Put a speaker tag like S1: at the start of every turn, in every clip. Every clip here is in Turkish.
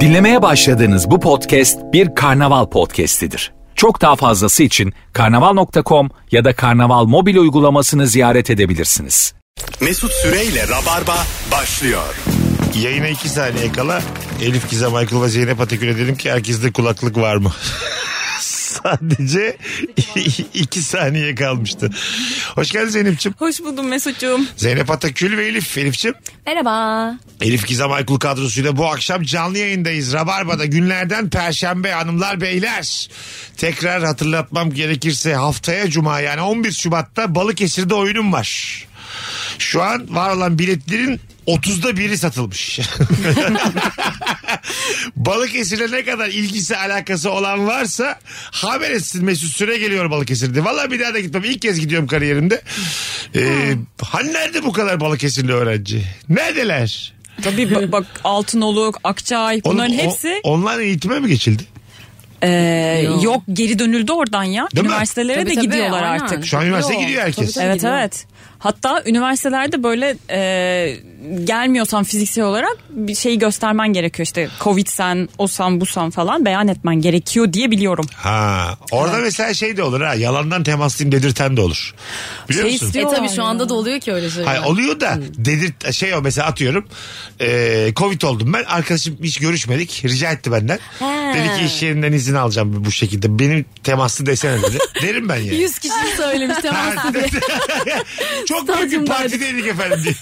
S1: Dinlemeye başladığınız bu podcast bir karnaval podcastidir. Çok daha fazlası için karnaval.com ya da karnaval mobil uygulamasını ziyaret edebilirsiniz.
S2: Mesut Süreyle Rabarba başlıyor.
S3: Yayına iki saniye kala Elif Gizem Aykul ve Zeynep Atakül'e dedim ki herkeste kulaklık var mı? Sadece iki saniye kalmıştı. Hoş geldin Zeynep'ciğim.
S4: Hoş buldum Mesut'cuğum.
S3: Zeynep Atakül ve Elif. Elif'ciğim.
S4: Merhaba.
S3: Elif Gizem Aykul kadrosuyla bu akşam canlı yayındayız. Rabarba'da günlerden Perşembe hanımlar beyler. Tekrar hatırlatmam gerekirse haftaya Cuma yani 11 Şubat'ta Balıkesir'de oyunum var. Şu an var olan biletlerin 30'da biri satılmış. Balıkesir'e ne kadar ilgisi alakası olan varsa haber etsin Mesut Süre geliyor Balıkesir'de. Valla bir daha da gitmem. İlk kez gidiyorum kariyerimde. Ee, hani nerede bu kadar Balıkesirli öğrenci? Neredeler?
S4: Tabii bak, bak Altınoluk, Akçay
S3: Oğlum,
S4: bunların
S3: o-
S4: hepsi
S3: online eğitime mi geçildi?
S4: e, yok geri dönüldü oradan ya.
S3: Değil mi?
S4: Üniversitelere de
S5: Tabii, tabii,
S4: gidiyorlar
S5: aynen.
S4: artık.
S3: Şu an üniversiteye gidiyor herkes.
S5: tabii,
S4: Evet
S5: gidiyor.
S4: evet. Hatta üniversitelerde böyle e, gelmiyorsan fiziksel olarak bir şeyi göstermen gerekiyor. İşte Covid'sen, osan, busan falan beyan etmen gerekiyor diye biliyorum.
S3: Ha, orada mesela şey de olur ha. Yalandan temaslıyım dedirten de olur. Biliyor
S4: Şey
S3: musun?
S4: istiyor-
S5: E tabii
S4: Diyorlar
S5: şu anda da oluyor ki öyle şeyler.
S3: Hayır oluyor da dedirt şey o mesela atıyorum eee covid oldum ben arkadaşım hiç görüşmedik rica etti benden
S5: He.
S3: dedi ki iş yerinden izin alacağım bu şekilde benim temaslı desene dedi derim ben yani.
S5: 100 kişi söylemiş tamam.
S3: Çok büyük bir
S5: Stadyumdaydık.
S3: partideydik efendim diye.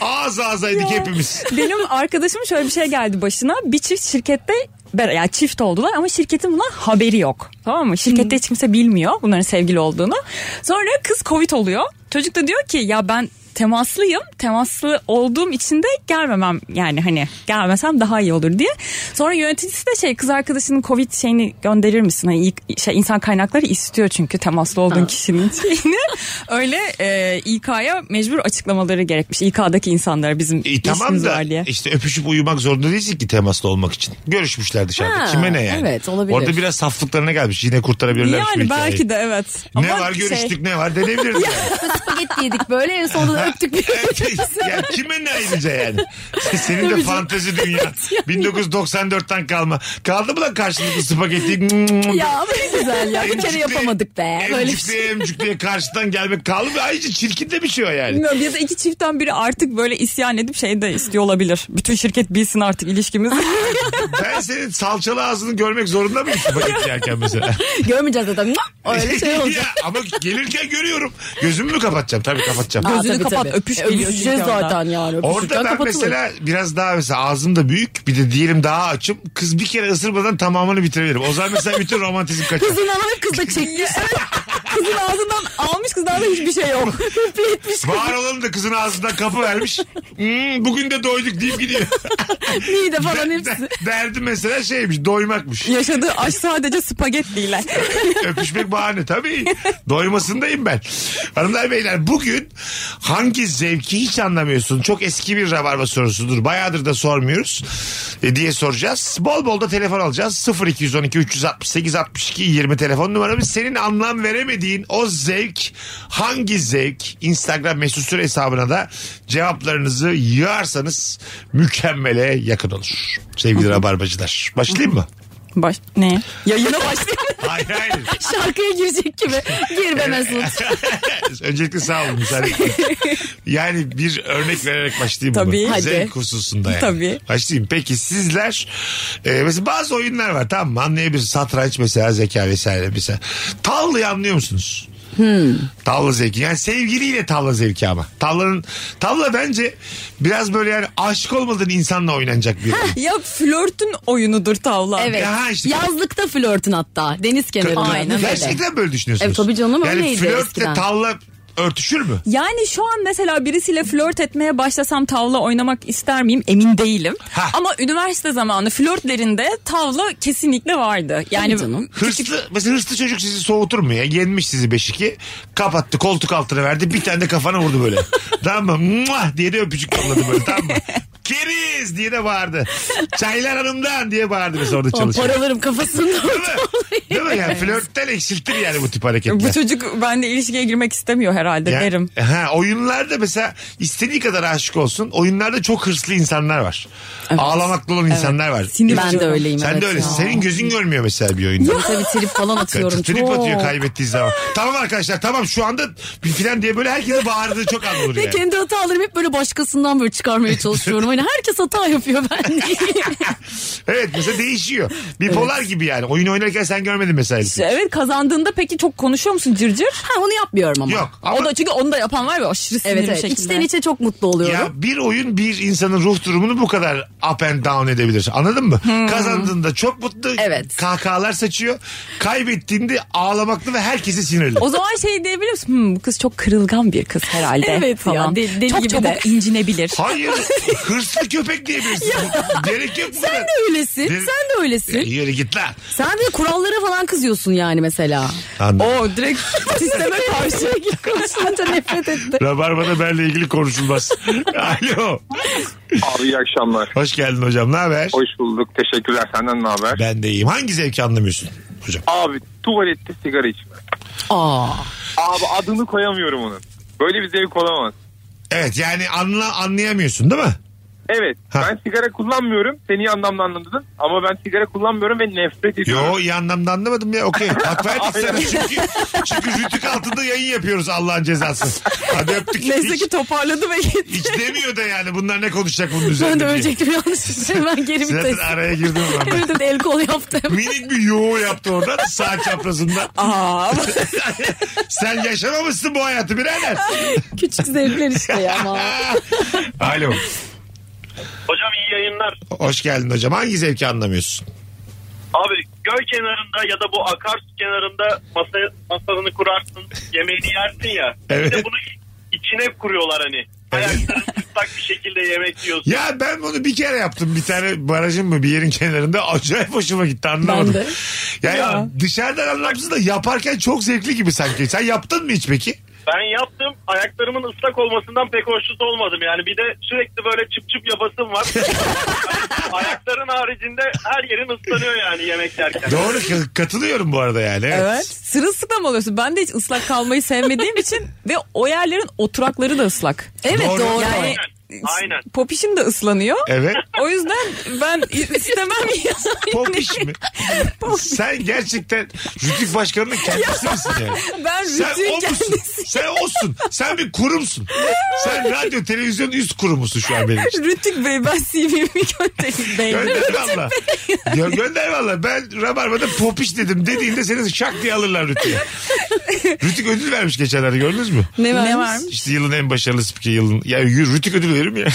S3: Ağız ağzaydık hepimiz.
S4: Benim arkadaşım şöyle bir şey geldi başına. Bir çift şirkette ber- yani çift oldular ama şirketin buna haberi yok. Tamam mı? Şirkette hiç kimse bilmiyor bunların sevgili olduğunu. Sonra kız Covid oluyor. Çocuk da diyor ki ya ben temaslıyım. Temaslı olduğum için de gelmemem yani hani gelmesem daha iyi olur diye. Sonra yöneticisi de şey kız arkadaşının Covid şeyini gönderir misin? Hani ilk- şey, insan kaynakları istiyor çünkü temaslı olduğun kişinin şeyini. Öyle e, İK'ya mecbur açıklamaları gerekmiş. İK'daki insanlara bizim
S3: E, tamam
S4: İşimiz
S3: da
S4: var diye.
S3: işte öpüşüp uyumak zorunda değilsin ki temaslı olmak için. Görüşmüşler dışarıda.
S5: Ha,
S3: Kime ne yani?
S5: evet, olabilir.
S3: Orada biraz saflıklarına gelmiş. Yine kurtarabilirler şu
S4: Yani
S3: hikayeyi.
S4: belki de evet.
S3: Ne var
S4: şey-
S3: görüştük ne var denebilirdi yani.
S5: Spagetti yedik böyle en sonunda da öptük bir şey-
S3: ya kime ne ayrıca yani? Senin de fantezi dünya. 1994'ten kalma. Kaldı mı lan karşılıklı spagetti?
S5: ya ama ne güzel ya. Bir kere
S3: Emcikli-
S5: yapamadık be. Böyle bir şey.
S3: Emcikliye emcikliye karşıdan gelmek kaldı mı? Ayrıca çirkin de bir şey o yani.
S4: Bilmiyorum ya da iki çiftten biri artık böyle isyan edip şey de istiyor olabilir. Bütün şirket bilsin artık ilişkimiz.
S3: Ben senin salçalı ağzını görmek zorunda mıyım spagetti yerken mesela?
S5: Görmeyeceğiz zaten. Öyle şey olacak.
S3: Ya ama gelirken görüyorum. Gözümü mü kapatacağım? Tabii kapatacağım.
S4: Gözünü kapat, öpüş geliyor
S5: Öpüşeceğiz
S4: çünkü oradan.
S5: zaten yani.
S3: Orada
S5: Öpüşürken
S3: ben
S5: kapatılır.
S3: mesela biraz daha mesela ağzım da büyük bir de diyelim daha açım. Kız bir kere ısırmadan tamamını bitirebilirim. O zaman mesela bütün romantizm kaçar.
S5: Kızın alıp kız da çekmiş.
S4: Kızın ağzından almış kızdan da hiçbir şey yok.
S3: Var olanı da kızın ağzından kapı vermiş. Hmm, bugün de doyduk deyip gidiyor.
S5: Mide falan hepsi.
S3: De- Derdi mesela şeymiş doymakmış.
S4: Yaşadığı aşk sadece spagettiyle.
S3: Öpüşmek bahane tabii. Doymasındayım ben. Hanımlar beyler bugün hangi zevki hiç anlamıyorsun? Çok eski bir rabarba sorusudur. Bayağıdır da sormuyoruz e, diye soracağız. Bol bol da telefon alacağız. 0212 368 62 20 telefon numaramız. Senin anlam veremediğin o zevk hangi zevk? Instagram mesut süre hesabına da cevaplarınızı yığarsanız mükemmele yakın olur. Sevgili rabarbacılar. Başlayayım mı?
S4: Baş, ne? Yayına başlayalım.
S3: Hayır hayır.
S5: Şarkıya girecek gibi. Gir be Mesut.
S3: Öncelikle sağ olun. müsaade edin. yani bir örnek vererek başlayayım
S4: Tabii.
S3: bunu.
S4: Hadi.
S3: Zevk hususunda yani.
S4: Tabii.
S3: Başlayayım. Peki sizler e, mesela bazı oyunlar var tamam mı? Anlayabilirsiniz. Satranç mesela zeka vesaire mesela. Tavlayı anlıyor musunuz?
S5: Hmm.
S3: Tavla zevki. Yani sevgiliyle tavla zevki ama. Tavlanın, tavla bence biraz böyle yani aşık olmadığın insanla oynanacak bir oyun.
S4: Ya flörtün oyunudur tavla.
S5: Evet.
S3: Ya işte-
S5: Yazlıkta flörtün hatta. Deniz kenarında. Aynen öyle.
S3: Gerçekten böyle düşünüyorsunuz.
S5: Evet, tabii canım,
S3: yani
S5: öyleydi
S3: flörtle
S5: eskiden.
S3: tavla örtüşür mü?
S4: Yani şu an mesela birisiyle flört etmeye başlasam tavla oynamak ister miyim emin değilim.
S3: Ha.
S4: Ama üniversite zamanı flörtlerinde tavla kesinlikle vardı. Yani
S5: Tabii canım.
S3: Hırslı, mesela hırslı çocuk sizi soğutur mu ya? Yenmiş sizi 5-2. Kapattı koltuk altına verdi. Bir tane de kafana vurdu böyle. tamam mı? Muah diye de öpücük yolladı böyle tamam mı? Keriz diye de bağırdı. Çaylar Hanım'dan diye bağırdı mesela orada çalışan.
S5: Paralarım kafasında.
S3: Değil mi? Değil mi? Yani flörtten eksiltir yani bu tip hareketler.
S4: Bu çocuk bende ilişkiye girmek istemiyor herhalde
S3: Ya-
S4: derim.
S3: Ha, oyunlarda mesela istediği kadar aşık olsun. Oyunlarda çok hırslı insanlar var. Ağlamaklı olan insanlar var.
S4: Sinir
S5: ben
S4: bozucu.
S5: de öyleyim.
S3: Sen
S5: evet
S3: de öylesin.
S5: ya.
S3: Senin gözün görmüyor mesela bir oyunda.
S5: Tabii tabii trip falan atıyorum.
S3: Trip
S5: çok.
S3: atıyor kaybettiği zaman. tamam arkadaşlar tamam şu anda bir filan diye böyle herkese bağırdığı çok anılır
S5: Ve
S3: yani.
S5: kendi hatalarımı hep böyle başkasından böyle çıkarmaya çalışıyorum. Hani herkes hata yapıyor ben değil.
S3: Evet mesela değişiyor. Bipolar gibi yani. Oyun oynarken sen görmedin mesela. herifi.
S4: Evet kazandığında peki çok konuşuyor musun cırcır?
S5: ha onu yapmıyorum ama.
S3: Yok ama
S4: O da çünkü onu da yapan var ve aşırı sinirli
S5: Evet evet.
S4: şekilde.
S5: İçten içe çok mutlu oluyorum.
S3: ya bir oyun bir insanın ruh durumunu bu kadar up and down edebilir. Anladın mı? Kazandığında çok mutlu.
S5: Hmm. Evet.
S3: Kahkahalar saçıyor. Kaybettiğinde ağlamaklı ve herkese sinirli.
S4: O zaman şey diyebilir misin? "Hmm, bu kız çok kırılgan bir kız herhalde.
S5: Evet ya,
S4: falan.
S5: deli- deli
S4: çok
S5: gibi
S4: çabuk
S5: de.
S4: incinebilir.
S3: Hayır. hırslı köpek diyebilirsin. Gerek yok bu
S5: Sen
S3: kadar.
S5: de öylesin. Sen de öylesin.
S3: Yürü git lan.
S5: Sen de kurallara falan kızıyorsun yani mesela.
S3: Anladım.
S4: o direkt
S5: Sisteme
S4: Şey
S5: karşı konuşunca nefret etti.
S3: Rabarba'da benle ilgili konuşulmaz. Alo.
S6: Abi iyi akşamlar.
S3: Hoş geldin hocam. Ne haber?
S6: Hoş bulduk. Teşekkürler. Senden ne haber?
S3: Ben de iyiyim. Hangi zevki anlamıyorsun hocam?
S6: Abi tuvalette sigara içme.
S5: Aa.
S6: Abi adını koyamıyorum onun. Böyle bir zevk olamaz.
S3: Evet yani anla, anlayamıyorsun değil mi?
S6: Evet
S3: Ha.
S6: ben sigara kullanmıyorum. Seni iyi anlamda anladın. Ama ben sigara kullanmıyorum ve nefret ediyorum.
S3: Yo iyi anlamda anlamadım ya okey. Hak verdik sana
S6: Aynen.
S3: çünkü, çünkü rütük altında yayın yapıyoruz Allah'ın cezası. Hadi öptük.
S4: neyse
S3: hiç,
S4: ki toparladı ve gitti.
S3: hiç demiyor da yani bunlar ne konuşacak bunun üzerine
S5: Ben de
S3: diye.
S5: ölecektim yanlışlıkla
S4: şey,
S5: hemen geri bir
S3: Zaten
S5: test.
S3: araya girdim ben.
S5: Evet evet el kol yaptım.
S3: Minik bir yo yaptı oradan sağ çaprazından.
S4: Aa,
S3: Sen yaşamamışsın bu hayatı birader.
S5: Küçük zevkler işte ya ama.
S3: Alo.
S7: Hocam iyi yayınlar.
S3: Hoş geldin hocam. Hangi zevki anlamıyorsun?
S7: Abi göl kenarında ya da bu akarsu kenarında masa, masalını kurarsın, yemeğini yersin ya.
S3: Evet.
S7: Bir de bunu içine kuruyorlar hani. Ayaklarını tutsak bir şekilde yemek yiyorsun.
S3: Ya ben bunu bir kere yaptım. Bir tane barajın mı bir yerin kenarında acayip hoşuma gitti anlamadım.
S5: Ben de.
S3: Ya, ya dışarıdan anlamsız da yaparken çok zevkli gibi sanki. Sen yaptın mı hiç peki?
S7: Ben yaptım ayaklarımın ıslak olmasından pek hoşnut olmadım. Yani bir de sürekli böyle çıp çıp yapasım var. Ayakların haricinde her yerin ıslanıyor yani yemek yerken.
S3: Doğru k- katılıyorum bu arada yani. Evet.
S4: evet. Sırılsıklam oluyorsun. Ben de hiç ıslak kalmayı sevmediğim için ve o yerlerin oturakları da ıslak.
S5: Evet
S3: Doğru.
S5: doğru.
S4: Yani
S7: Aynen.
S4: popişim de ıslanıyor.
S3: Evet.
S4: O yüzden ben istemem ya.
S3: Popiş mi? Sen gerçekten Rütük Başkanı'nın kendisi misin yani?
S4: Ben
S3: Sen
S4: rütüğün
S3: o musun?
S4: kendisi.
S3: Sen osun. Sen bir kurumsun. Sen radyo televizyon üst kurumusun şu an benim için.
S4: Rütük Bey ben CV'mi göndereyim. Bey.
S3: Gönder valla. Gö- gönder valla. Ben Rabarba'da popiş dedim dediğinde seni şak diye alırlar Rütük'e. Rütük ödül vermiş geçenlerde gördünüz mü?
S5: Ne var?
S4: Ne varmış?
S3: İşte yılın en başarılı spikeri yılın. Ya yürü, Rütük ödül verir mi ya?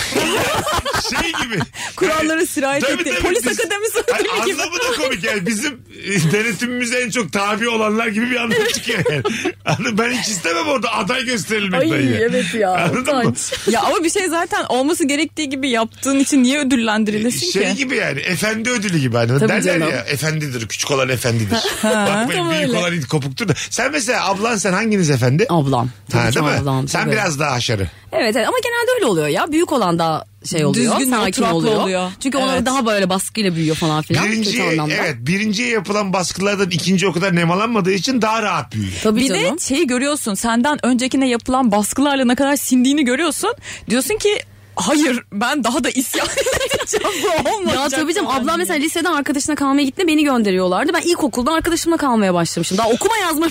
S3: şey gibi.
S4: Kurallara sirayet
S3: Tabii,
S4: etti.
S3: tabii.
S4: Polis
S3: Biz-
S4: akademisi
S3: Hayır,
S4: ödülü gibi.
S3: anlamı da komik yani. Bizim e, denetimimize en çok tabi olanlar gibi bir anlam çıkıyor yani. Anladın mı? Ben hiç istemem orada aday gösterilmek
S5: Ay
S3: dahi.
S5: evet ya.
S3: Anladın mı?
S5: utanç.
S4: Ya ama bir şey zaten olması gerektiği gibi yaptığın için niye ödüllendirilirsin
S3: Şey
S4: ki?
S3: gibi yani efendi ödülü gibi hani
S5: Tabii
S3: derler
S5: canım.
S3: ya efendidir küçük olan efendidir. Bakmayın büyük
S5: öyle.
S3: olan kopuktur da. Sen mesela ablan sen hanginiz efendi?
S5: Ablam. Tabii
S3: Ha,
S5: ki
S3: değil mi?
S5: ablam,
S3: sen
S5: tabii.
S3: biraz daha haşarı.
S5: Evet, evet ama genelde öyle oluyor ya. Büyük olan daha şey oluyor.
S4: Düzgün ve
S5: sakin
S4: oturaklı
S5: oluyor.
S4: oluyor.
S5: Çünkü
S4: Evet.
S5: onlar daha böyle baskıyla büyüyor falan filan.
S3: Birinci,
S5: Kötü anlamda.
S3: evet, birinciye yapılan baskılardan ikinci o kadar nemalanmadığı için daha rahat büyüyor.
S5: Tabii
S4: Bir
S5: canım.
S4: de şeyi görüyorsun senden öncekine yapılan baskılarla ne kadar sindiğini görüyorsun. Diyorsun ki hayır ben daha da isyan edeceğim bu
S5: Ya
S4: olmayacak.
S5: tabii canım
S4: falan
S5: ablam
S4: diye.
S5: mesela liseden arkadaşına kalmaya gitti beni gönderiyorlardı. Ben ilkokulda arkadaşımla kalmaya başlamışım. Daha okuma yazma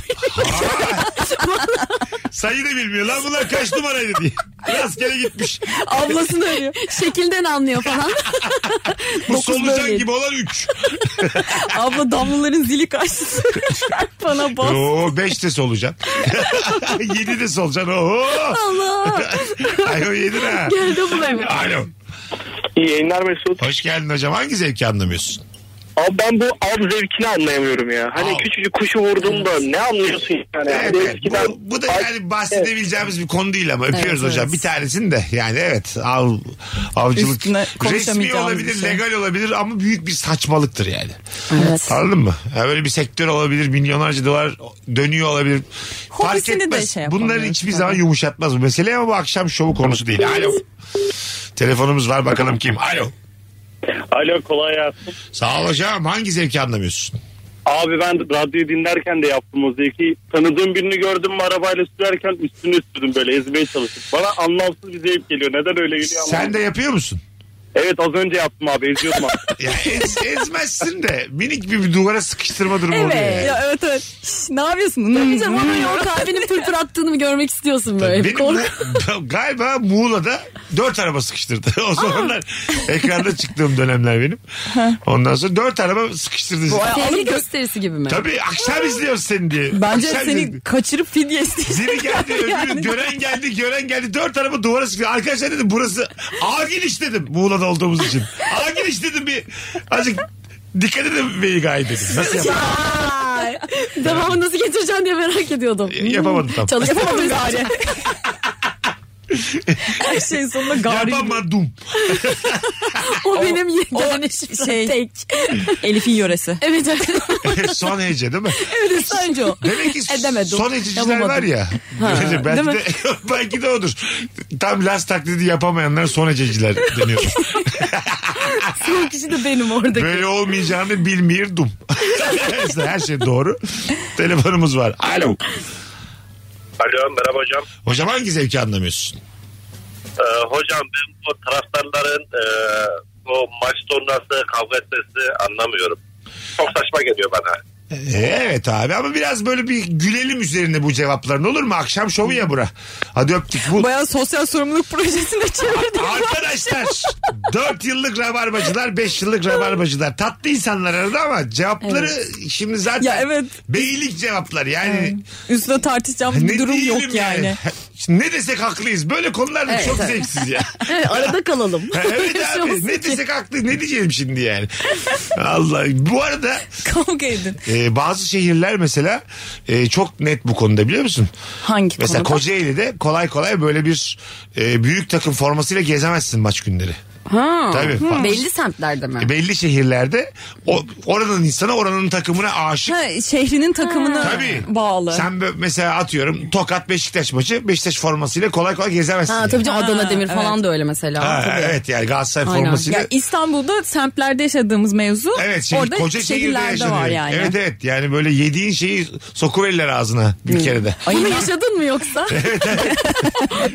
S3: Sayı da bilmiyor lan bunlar kaç numaraydı diye. Rastgele gitmiş.
S5: ablasını arıyor. Şekilden anlıyor falan.
S3: Bu
S5: Dokuz
S3: solucan
S5: böyleydi.
S3: gibi olan 3.
S4: Abla damlaların zili karşısında bana bas.
S3: Oo 5 de solucan. 7 de solucan. Oo.
S5: Allah.
S3: Ay o 7 ha.
S5: Geldi bu benim.
S3: Alo.
S8: İyi yayınlar Mesut.
S3: Hoş geldin hocam. Hangi zevki anlamıyorsun?
S8: Abi ben bu av zevkini anlayamıyorum ya. Hani
S3: Av.
S8: küçücük kuşu vurduğumda ne anlıyorsun yani?
S3: Evet,
S8: Hani
S3: bu,
S8: eskiden-
S3: bu da yani bahsedebileceğimiz bir konu değil ama öpüyoruz
S5: Evet,
S3: hocam.
S5: evet.
S3: Bir tanesini de yani evet av, avcılık
S4: Üstüne
S3: resmi
S4: konuşamayacağımız
S3: olabilir
S4: bir şey.
S3: legal olabilir ama büyük bir saçmalıktır yani.
S5: Evet.
S3: Anladın mı? Ha, böyle bir sektör olabilir milyonlarca dolar dönüyor olabilir. Fark
S4: Hobisini de
S3: etmez.
S4: şey
S3: Bunları
S4: yapamıyoruz
S3: hiçbir
S4: tabii.
S3: zaman yumuşatmaz bu mesele ama bu akşam şovu konusu değil. Alo. Telefonumuz var bakalım kim? Alo.
S8: Alo kolay gelsin.
S3: Sağ ol hocam. Hangi zevki anlamıyorsun?
S8: Abi ben radyoyu dinlerken de yaptım o zevki. Tanıdığım birini gördüm mü arabayla sürerken üstünü üstürdüm böyle ezmeye çalıştım. Bana anlamsız bir zevk geliyor. Neden öyle geliyor anlamadım.
S3: Sen de yapıyor musun?
S8: Evet az önce yaptım abi eziyordum abi.
S3: Ya ez, ezmezsin de minik bir, bir duvara sıkıştırma durumu oluyor.
S4: Evet.
S3: ya.
S4: Hmm. Ya, evet evet. Şş, ne yapıyorsun?
S3: Hmm.
S5: Bir canım ama yok kalbinin pırpır attığını görmek istiyorsun böyle.
S3: Benim
S5: Kork-
S3: de- galiba Muğla'da dört araba sıkıştırdı. O zamanlar ekranda çıktığım dönemler benim. Ondan sonra dört araba sıkıştırdı. sizi.
S5: Sevgi gösterisi gibi mi?
S3: Tabii akşam izliyoruz seni diye.
S4: Bence
S3: Akşam
S4: seni
S3: izliyoruz.
S4: kaçırıp fidye isteyecek.
S3: Biri geldi öbürü
S4: Yani.
S3: gören geldi gören geldi dört araba duvara sıkıştı. Arkadaşlar dedim burası ağ giriş dedim Muğla'da olduğumuz için. Ağ giriş dedim bir azıcık dikkat edin beyi gayet dedim. Nasıl yapayım?
S5: Ay, Devamı nasıl getireceğim diye merak ediyordum.
S3: E, Yapamadım tam.
S5: Çalışamadım bari.
S4: Her şeyin sonunda gari.
S3: Yapamadım.
S5: O benim yegane
S4: şey-
S5: şey. tek.
S4: Elif'in yöresi.
S5: Evet evet.
S3: Son hece değil mi?
S5: evet sence o.
S3: Demek ki
S5: Edemedim.
S3: son ediciler
S5: Yapamadım.
S3: var ya. belki,
S5: değil mi?
S3: de, belki de odur. Tam last taklidi yapamayanlar son ediciler deniyor.
S5: Son kişi de benim oradaki.
S3: Böyle olmayacağını bilmiyordum. Neyse, Her şey doğru. Telefonumuz var. Alo.
S7: Alo merhaba hocam.
S3: Hocam hangi zevki anlamıyorsun?
S7: Ee, hocam ben bu taraftarların e, o maç sonrası kavga etmesi anlamıyorum. Çok saçma geliyor bana.
S3: Ee, Evet abi ama biraz böyle bir gülelim üzerine bu cevapların olur mu? Akşam şovu ya bura. Hadi öptük. Bu...
S4: Bayağı sosyal sorumluluk projesine çevirdim.
S3: Arkadaşlar 4 yıllık rabarbacılar 5 yıllık rabarbacılar tatlı insanlar arada ama cevapları şimdi zaten
S4: Ya evet.
S3: beylik cevaplar yani
S4: Üstüne tartışacağım bir
S3: ne
S4: durum
S3: diyelim
S4: yok yani.
S3: Ne desek haklıyız. Böyle konular da
S5: Evet,
S3: çok
S5: evet.
S3: zevksiz ya.
S5: Arada kalalım.
S3: evet
S4: şey
S3: abi ne desek haklı ne diyeceğim şimdi yani. Allah bu arada
S4: Kavga edin.
S3: e, bazı şehirler mesela e, çok net bu konuda biliyor musun?
S4: Hangi
S3: Mesela
S4: konuda?
S3: Kocaeli'de kolay kolay böyle bir e, büyük takım formasıyla gezemezsin maç günleri.
S5: Ha.
S3: Tabii.
S4: hmm,
S3: Fa-
S5: Belli semtlerde mi?
S3: belli şehirlerde o, oranın insanı oranın takımına aşık.
S4: Ha, şehrinin takımına
S3: Tabii.
S4: bağlı.
S3: Sen bö- mesela atıyorum Tokat Beşiktaş maçı Beşiktaş formasıyla kolay kolay gezemezsin.
S5: Ha
S3: yani.
S5: tabii canım Adana Demir
S4: evet.
S5: falan da öyle mesela.
S3: Ha,
S5: Tabii.
S3: evet yani Galatasaray
S5: Aynen.
S3: formasıyla.
S4: Ya İstanbul'da semtlerde yaşadığımız mevzu
S3: Evet şimdi
S4: orada
S3: koca şehirde
S4: şehirlerde var
S3: yaşanıyor.
S4: yani.
S3: Evet evet yani böyle yediğin şeyi sokuverirler ağzına
S4: Hmm.
S3: bir kere de.
S5: Bunu yaşadın mı yoksa?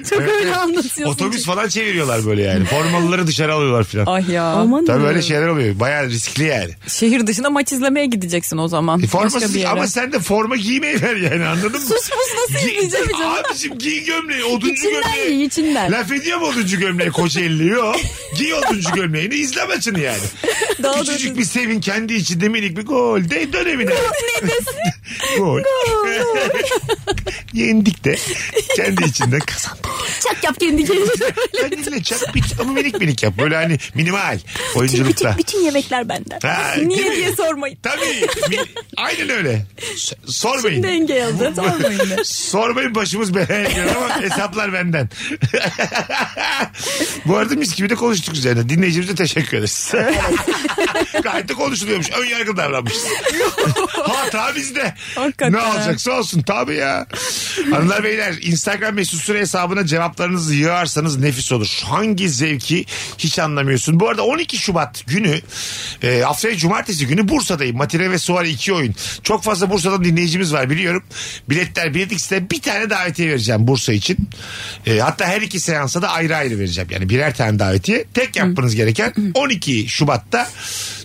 S5: Çok öyle anlatıyorsun.
S3: Otobüs falan çeviriyorlar böyle yani. Formalıları dışarı alıyorlar filan.
S4: Ay Ah ya.
S5: Aman
S3: Tabii
S5: Allah'ım.
S3: öyle şey şeyler oluyor. Bayağı riskli yani.
S4: Şehir dışına maç izlemeye gideceksin o zaman.
S3: E,
S4: Başka bir
S3: formasız
S4: yere.
S3: ama sen de forma giymeyi ver yani anladın mı?
S5: Sus pus nasıl izleyeceğim
S3: Giy-
S5: canım?
S3: Abicim giy gömleği. Oduncu
S5: İçinden
S3: gömleği.
S5: iyi içinden.
S3: Laf ediyor mu oduncu gömleği Kocaeli'li? Yok. Giy oduncu gömleğini izle maçını yani.
S4: Daha
S3: Küçücük bir sevin kendi içinde minik bir gol. De dön evine. gol. Yendik de kendi içinde kazandık.
S5: Çak yap kendi kendine.
S3: Kendine çak bit ama minik minik yap. Böyle hani minimal oyunculukta.
S4: bütün yemekler benden.
S3: Ha, değil
S4: Niye
S3: mi?
S4: diye sormayın.
S3: Tabii. Min- Aynen öyle. S- sormayın.
S5: Denge aldı.
S3: Sormayın başımız belaya giriyor ama hesaplar benden. Bu arada mis gibi de konuştuk üzerine. Dinleyicimize teşekkür ederiz. Gayet de konuşuluyormuş. Ön yargı davranmışız. Hata bizde.
S4: Hakikaten.
S3: Ne olacaksa olsun tabii ya. Hanımlar beyler Instagram mesut süre hesabına cevaplarınızı yığarsanız nefis olur. Hangi zevki hiç anlamıyorsun. Bu arada 12 Şubat günü e, haftaya cumartesi günü Bursa'dayım. Matine ve Suvari iki oyun. Çok fazla Bursa'dan dinleyicimiz var biliyorum. Biletler Bilet X'te bir tane davetiye vereceğim Bursa için. E, hatta her iki seansa da ayrı ayrı vereceğim. Yani birer tane davetiye. Tek yapmanız gereken 12 Şubat'ta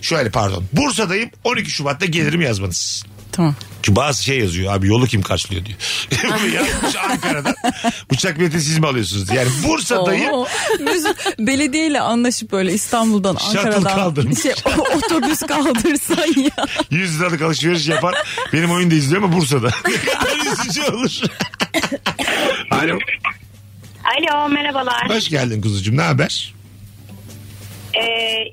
S3: şöyle pardon. Bursa'dayım 12 Şubat'ta gelirim yazmanız.
S4: Tamam.
S3: Çünkü bazı şey yazıyor abi yolu kim karşılıyor diyor. Bunu yazmış Ankara'dan. Uçak bileti siz mi alıyorsunuz? Yani Bursa'dayım.
S4: Oo. Mesut, belediyeyle anlaşıp böyle İstanbul'dan,
S3: Shuttle
S4: Ankara'dan
S3: kaldırmış.
S4: şey, o- otobüs kaldırsan ya.
S3: 100 liralık alışveriş yapar. Benim oyun da izliyor ama Bursa'da. Ne kadar üzücü olur. Alo.
S9: Alo merhabalar.
S3: Hoş geldin kuzucuğum. Ne haber?
S9: Ee,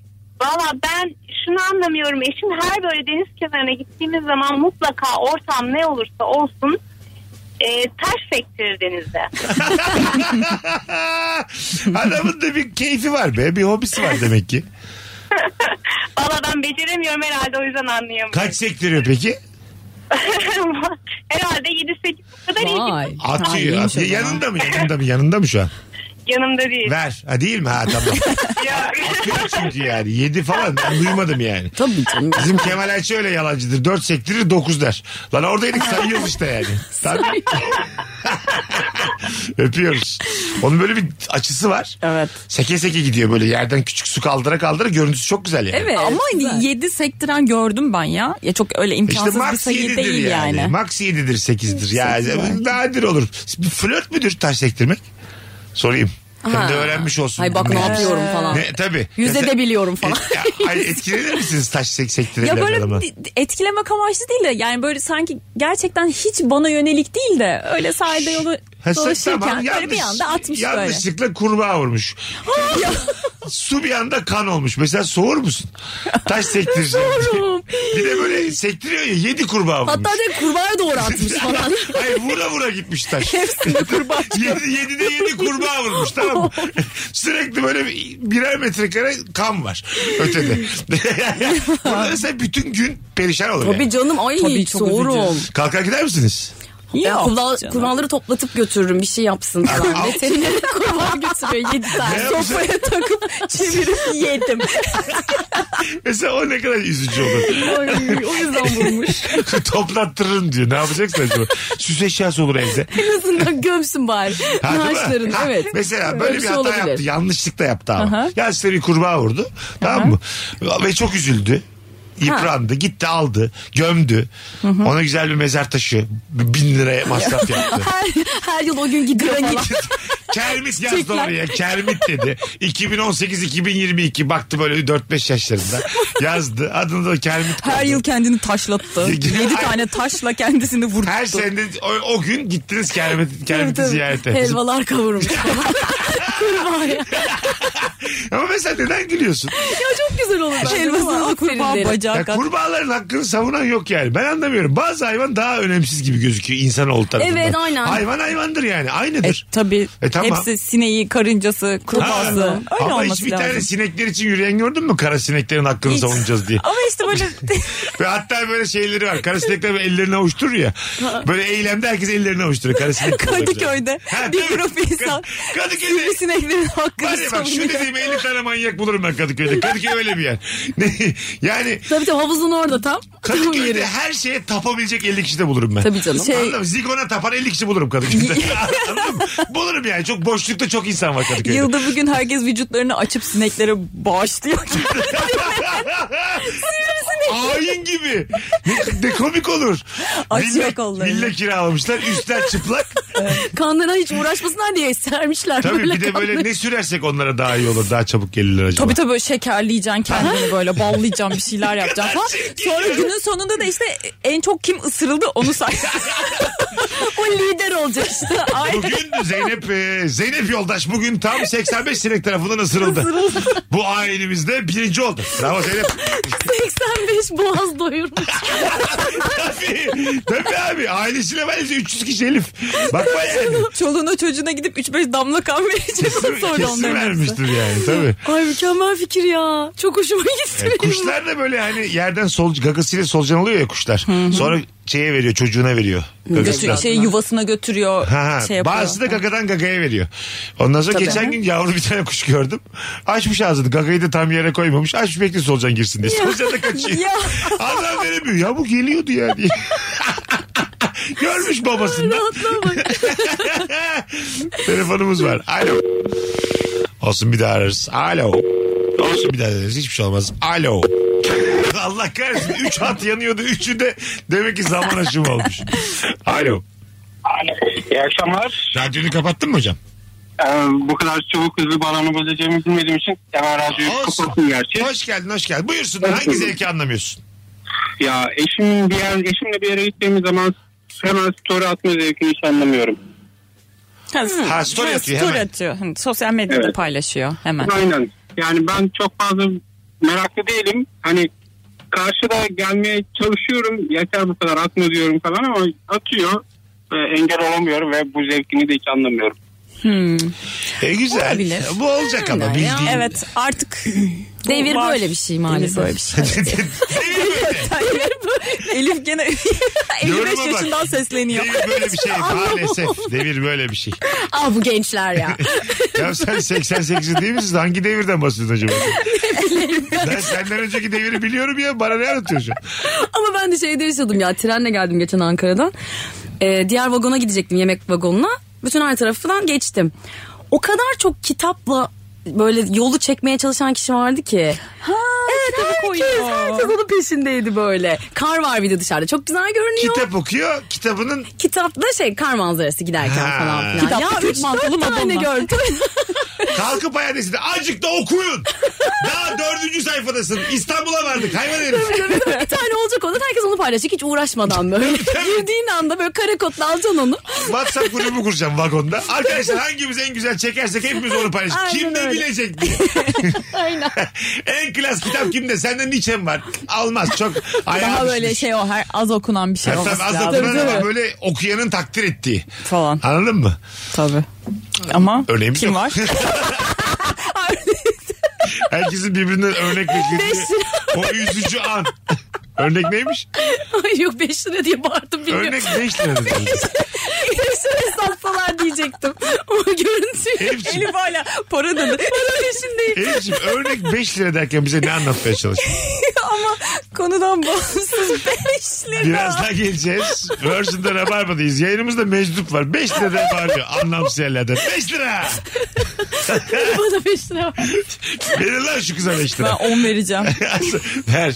S9: Valla ben şunu anlamıyorum. Eşim her böyle deniz kenarına gittiğimiz zaman mutlaka ortam ne olursa olsun e, ters sektirir denizde.
S3: Adamın da bir keyfi var be. Bir hobisi var demek ki.
S9: Valla ben beceremiyorum herhalde o yüzden anlayamıyorum.
S3: Kaç sektiriyor peki?
S9: herhalde 7-8 kadar iyi.
S5: Vay. Ha,
S3: Atıyor.
S5: iyiymiş o
S3: atıyor.
S5: zaman.
S3: Yanında mı? Yanında mı? Yanında mı şu an?
S9: yanımda değil.
S3: Ver. Ha değil mi? Ha tamam.
S9: Ya,
S3: Yok çünkü yani. Yedi falan ben duymadım yani.
S5: Tabii canım.
S3: Bizim Kemal Ayça öyle yalancıdır. Dört sektirir dokuz der. Lan oradaydık sayıyoruz işte yani. Tabii. Öpüyoruz. Onun böyle bir açısı var.
S5: Evet.
S3: Seke seke gidiyor böyle yerden küçük su kaldıra kaldıra. Görüntüsü çok güzel yani.
S4: Evet. Ama 7 sektiren gördüm ben ya. Ya çok öyle
S3: İşte
S4: imkansız bir
S3: E max
S4: sayı
S3: 7'dir
S4: değil
S3: yani.
S4: yani.
S3: Max 7'dir 8'dir. Yani nadir olur. Flört müdür taş sektirmek? Sorayım. Hem
S5: Ha.
S3: de öğrenmiş olsun.
S5: Ay bak ne
S3: dinleyicimiz.
S5: yapıyorum falan.
S3: Ne, tabii.
S5: Yüzde de biliyorum falan.
S3: Et- ya, ay, etkilenir misiniz taş sek
S4: Ya
S3: sektirilen adamdan?
S4: böyle di- etkilemek amaçlı değil de yani böyle sanki gerçekten hiç bana yönelik değil de öyle sahilde yolu
S3: Ha, sen
S4: dolaşırken
S3: tamam,
S4: böyle bir
S3: yanlış-
S4: anda atmış böyle.
S3: yanlışlıkla kurbağa vurmuş. Su bir anda kan olmuş. Mesela soğur musun? Taş sektirirsin.
S5: Soğurum.
S3: bir de böyle sektiriyor ya yedi kurbağa vurmuş.
S5: Hatta direkt kurbağaya doğru atmış falan.
S3: Hayır vura vura gitmiş taş. yedi, yedide yedi kurbağa vurmuş tamam mı? Sürekli böyle bir- birer metrekare kan var ötede. Burada sen bütün gün perişan olur
S5: Tabii
S3: yani.
S5: canım ay
S4: Tabii, çok
S5: soğurum.
S4: üzücü.
S3: Kalkar gider misiniz?
S5: Ya,
S4: Yok
S5: kurbağa-
S4: canım.
S5: kurbağaları toplatıp götürürüm bir şey yapsın falan. Veterinere kurbağa götürüyor 7
S3: Ne
S5: tane.
S3: yapacak?
S5: Sofraya takıp
S4: çevirip yedim.
S3: Mesela o ne kadar üzücü olur.
S5: Ay, o yüzden vurmuş.
S3: Toplattırırım diyor. Ne yapacaksın acaba? Süs eşyası olur evde.
S5: en azından gömsün bari.
S3: Ha, değil mi?
S5: Naaşların
S3: Ha,
S5: evet.
S3: Mesela böyle
S5: Öyle
S3: bir
S5: şey
S3: hata
S5: olabilir.
S3: yaptı. Yanlışlıkla yaptı ama. Ya işte bir kurbağa vurdu. Tamam mı? Ve çok üzüldü. Yıprandı. Gitti aldı. Gömdü. Ona güzel bir mezar taşı. bir Bin liraya masraf yaptı.
S5: Her, her yıl o gün gidiyor falan.
S3: Kermit yazdı oraya. Kermit dedi. 2018-2022 baktı böyle 4-5 yaşlarında. Yazdı. Adını da Kermit koydu.
S4: Her yıl kendini taşlattı. 7 tane taşla kendisini vurdu.
S3: Her şey- sene o, o gün gittiniz Kermit, Kermit'i ziyarete.
S5: Helvalar kavurmuş falan. kurbağaya.
S3: Ama mesela neden gülüyorsun?
S5: Ya çok güzel olur. bence.
S4: Helvasını da kurbağa
S5: Aferin derim.
S4: bacağı
S3: Ya
S4: kat-
S3: kurbağaların hakkını savunan yok yani. Ben anlamıyorum. Bazı hayvan daha önemsiz gibi gözüküyor insanoğlu tarafından.
S5: Evet, aynen.
S3: Hayvan hayvandır yani.
S4: E
S3: Aynıdır.
S4: tabii
S3: E, tamam.
S4: hepsi sineği, karıncası, kurbağası.
S3: Ha.
S4: Öyle
S3: Ama
S4: olması
S3: hiçbir
S4: lazım.
S3: tane sinekler için yürüyen gördün mü? Kara sineklerin hakkını
S4: Hiç.
S3: savunacağız diye.
S4: Ama işte böyle
S3: Ve hatta böyle şeyleri var. Kara sinekler böyle ellerini avuşturur ya. Böyle eylemde herkes ellerini avuşturuyor. Kara sinek
S4: Kadıköy'de
S3: Ha,
S4: bir
S3: tabii.
S4: grup insan
S3: Kad- Kadıköy'de-
S4: sivrisineklerin hakkını
S3: Var ya bak şu
S4: savunuyor.
S3: dediğim 50 tane manyak bulurum ben Kadıköy'de. Kadıköy öyle bir yer. Ne- yani
S5: Tabii tabii havuzun orada tam. Tam
S3: Kadıköy'de
S5: yeri.
S3: her şeye tapabilecek 50 kişi de bulurum ben.
S5: Tabii canım.
S4: Şey-
S3: Anladın mı? Zigon'a tapan 50 kişi bulurum Kadıköy'de. Anladın mı? Bulurum yani. Çok boşlukta çok insan var Kadıköy'de.
S4: Yılda bugün herkes vücutlarını açıp sineklere bağışlıyor.
S3: Hain gibi. Ne, ne komik olur.
S4: Açıyor
S3: Villa-
S4: kollarını.
S3: Villa kiralamışlar. Üstler çıplak.
S5: Kanlarına hiç uğraşmasınlar diye sermişler
S3: Tabii
S5: böyle
S3: bir de böyle
S5: kanları.
S3: ne sürersek onlara daha iyi olur. Daha çabuk gelirler acaba.
S4: tabii tabii böyle şekerleyeceksin kendini böyle ballayacaksın bir şeyler yapacaksın falan.
S3: şey
S4: Sonra günün sonunda da işte en çok kim ısırıldı onu say.
S5: O lider olacak işte. Ay.
S3: Bugün Zeynep e, Zeynep yoldaş bugün tam 85 sinek tarafından ısırıldı. Bu ailemizde birinci oldu. Bravo Zeynep.
S5: 85 boğaz doyurmuş.
S3: Tabii, tabii abi. Ailesiyle bence 300 kişi Elif. Bakma yani.
S4: Çoluğuna çocuğuna gidip 3-5 damla kan vereceksin
S3: Kesin,
S4: sonra
S3: kesin
S4: onların. hepsi.
S3: vermiştir yani tabii.
S5: Ay mükemmel fikir ya. Çok hoşuma gitti.
S3: Yani
S5: benim.
S3: E, kuşlar da böyle hani yerden sol gagasıyla solucan oluyor ya kuşlar. Sonra şeye veriyor çocuğuna veriyor. Gagasına.
S4: Götür, şey yuvasına götürüyor.
S3: Ha, ha.
S4: şey yapıyor.
S3: Bazısı da gagadan gagaya veriyor. Ondan sonra geçen gün yavru bir tane kuş gördüm. Açmış ağzını. Gagayı da tam yere koymamış. Açmış bekliyor solucan girsin diye. Solucan da kaçıyor.
S4: Ya.
S3: Adam veremiyor. Ya bu geliyordu ya diye. Görmüş babasından. Telefonumuz var. Alo. Olsun bir daha ararız. Alo. Olsun bir daha ararız. Hiçbir şey olmaz. Alo. Allah kahretsin. Üç hat yanıyordu. Üçü de demek ki zaman aşımı olmuş. Alo.
S7: İyi akşamlar. Ee,
S3: Radyonu kapattın mı hocam?
S7: bu kadar çabuk hızlı bağlanabileceğimi bilmediğim için hemen radyoyu kapattım gerçi.
S3: Hoş geldin hoş geldin. Buyursunlar hangi zevki anlamıyorsun?
S7: Ya eşim bir yer, eşimle bir yere gittiğimiz zaman hemen story atma zevkini hiç anlamıyorum.
S3: Ha, story atıyor
S4: story
S3: hemen.
S4: Hmm. atıyor. Hani Sosyal medyada
S7: Evet.
S4: paylaşıyor hemen.
S7: Aynen. Yani ben çok fazla meraklı değilim. Hani karşıda gelmeye çalışıyorum. Yeter bu kadar Ee, atma diyorum falan ama atıyor. Ve engel olamıyorum ve bu zevkini de hiç anlamıyorum.
S3: E güzel.
S5: Olabilir.
S3: Bu olacak ama
S5: Yani
S3: bildiğin.
S5: ya.
S4: Evet artık bu
S5: Devir
S4: var.
S5: böyle bir şey maalesef.
S4: Devir böyle bir şey. Devir böyle. Elif gene 55
S3: Yoruma bak.
S4: yaşından sesleniyor.
S3: Devir böyle bir şey maalesef. Devir böyle bir şey.
S5: Ah bu gençler ya.
S3: Ya sen 88'in değil misin? Hangi devirden bahsediyorsun acaba? ben senden önceki deviri biliyorum ya. Bana ne anlatıyorsun?
S5: Ama ben de şeyde yaşadım ya trenle geldim geçen Ankara'dan. Ee, diğer vagona gidecektim yemek vagonuna. Bütün her tarafından geçtim. O kadar çok kitapla böyle yolu çekmeye çalışan kişi vardı ki. Ha, evet, herkes, herkes onun peşindeydi böyle. Kar var bir de dışarıda. Çok güzel görünüyor.
S3: Kitap okuyor. Kitabının
S5: Kitapta şey kar manzarası giderken
S3: Ha.
S5: falan filan.
S4: Kitapta
S5: ya
S4: üç mantolu
S5: tane
S4: Madonna.
S5: gördüm.
S3: kalkıp hayanesinde azıcık da okuyun. Daha dördüncü sayfadasın. İstanbul'a vardık hayvan herif.
S5: bir tane olacak olan herkes onu paylaşacak hiç uğraşmadan böyle. Girdiğin anda böyle kare kodla alacaksın onu.
S3: WhatsApp grubu kuracağım vagonda. Arkadaşlar hangimiz en güzel çekersek hepimiz onu paylaşırız. Kim ne bilecek diye.
S5: Aynen.
S3: En klas kitap kimde? Sende Nietzsche'm var. Almaz çok.
S4: Daha
S3: ayağa
S4: böyle
S3: düşmüş.
S4: şey o her az okunan bir şey
S3: Ya
S4: olması
S3: tabii az
S4: lazım.
S3: da
S4: Tabii,
S3: bunlar ama
S4: tabii.
S3: böyle okuyanın takdir ettiği.
S4: Falan
S3: Anladın mı?
S4: tabii. Ama
S3: Örneğimiz
S4: kim
S3: yok.
S4: var?
S3: Herkesin birbirinden örnek beklediği o üzücü an. Örnek neymiş?
S5: Ay yok 5 lira diye bağırdım bilmiyorum.
S3: Örnek 5 lira dedi.
S5: Hepsini satsalar diyecektim. Ama görüntü.
S3: Hepsi.
S4: Elif hala para dedi. peşindeyim.
S3: Elif'ciğim örnek 5 lira derken bize ne anlatmaya çalışıyor?
S4: Ama konudan bağımsız 5 lira.
S3: Biraz daha geleceğiz. Virgin'de Rabarba'dayız. Yayınımızda meczup var. 5 lira diye bağırıyor. Anlamsız yerlerden. 5 lira!
S5: Bana 5 lira var.
S3: Verin lan şu kıza 5
S4: Ben
S3: lira.
S4: 10 vereceğim.
S3: ver.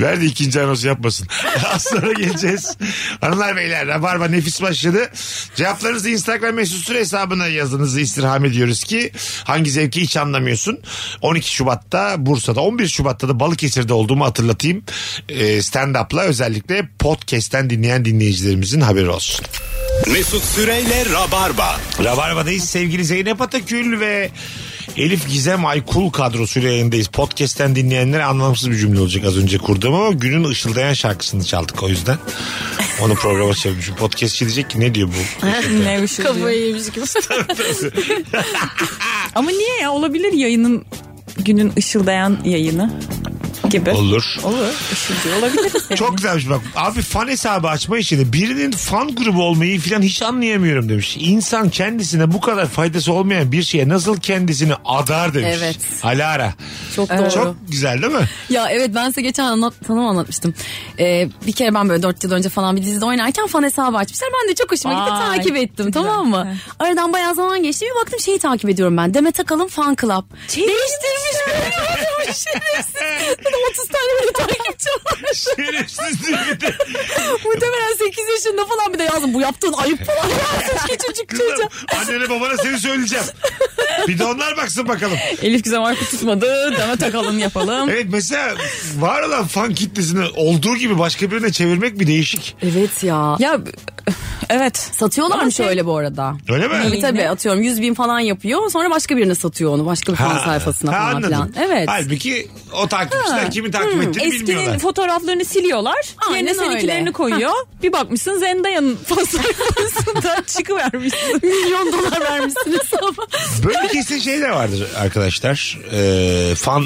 S3: Ver de ikinci anonsu yapmasın. Az sonra geleceğiz. Hanımlar beyler Rabarba nefis başladı. Cevaplarınızı Instagram mesut süre hesabına yazınızı istirham ediyoruz ki hangi zevki hiç anlamıyorsun. 12 Şubat'ta Bursa'da 11 Şubat'ta da Balıkesir'de olduğumu hatırlatayım. Ee, Stand-up'la özellikle podcast'ten dinleyen dinleyicilerimizin haberi olsun.
S2: Mesut Süreyle Rabarba.
S3: Rabarba'dayız. Sevgili Zeynep Atakül ve Elif Gizem Aykul kadrosuyla yayındayız. Podcast'ten dinleyenlere anlamsız bir cümle olacak az önce kurduğum ama günün ışıldayan şarkısını çaldık o yüzden. Onu programa çevirmişim. Podcastçi diyecek ki ne diyor bu?
S4: ne bir şey diyor.
S5: Kafayı yemiş gibi.
S4: Ama niye ya olabilir yayının günün ışıldayan yayını gibi.
S3: Olur.
S4: Olur. Işılcı olabilir. Yani.
S3: Çok güzelmiş bak. Abi fan hesabı açma işini birinin fan grubu olmayı falan hiç anlayamıyorum demiş. İnsan kendisine bu kadar faydası olmayan bir şeye nasıl kendisini adar demiş.
S5: Evet.
S3: Alara.
S5: Çok doğru.
S3: Çok güzel değil mi?
S5: Ya evet ben size geçen anlat, tanım anlatmıştım. Ee, bir kere ben böyle 4 yıl önce falan bir dizide oynarken fan hesabı açmışlar. Ben de çok hoşuma gitti
S4: Vay,
S5: takip ettim tamam mı? Aradan bayağı zaman geçti. Bir baktım şeyi takip ediyorum ben. Demet Akalın fan club.
S4: Şey
S5: Değiştirmiş. şey Şerefsiz. 30 tane böyle takipçi var.
S3: Şerefsizlik.
S5: Muhtemelen 8 yaşında falan bir de yazdım. Bu yaptığın ayıp falan yazmış küçücük çocuğa.
S3: Kızım annene babana seni söyleyeceğim. Bir de onlar baksın bakalım.
S4: Elif Gizem Aykut tutmadı. Deme takalım yapalım.
S3: Evet mesela var olan fan kitlesini olduğu gibi başka birine çevirmek bir değişik.
S5: Evet ya.
S4: Ya evet.
S5: Satıyorlarmış
S4: Ama şey-
S5: öyle bu arada.
S3: Öyle mi?
S5: Tabii tabii atıyorum 100 bin falan yapıyor sonra başka birine satıyor onu başka bir fan sayfasına
S3: ha,
S5: falan
S3: anladım.
S5: filan. Evet.
S3: Halbuki o takipçiler kimi takip ettiğini bilmiyorlar.
S4: Hmm, Eskinin fotoğraflarını siliyorlar.
S5: Aynen
S4: yerine seninkilerini
S5: öyle.
S4: koyuyor. Bir bakmışsın Zendaya'nın fan sayfasında çıkıvermişsin.
S5: Milyon dolar vermişsiniz ama.
S3: Böyle kesin şey de vardır arkadaşlar. Ee, fan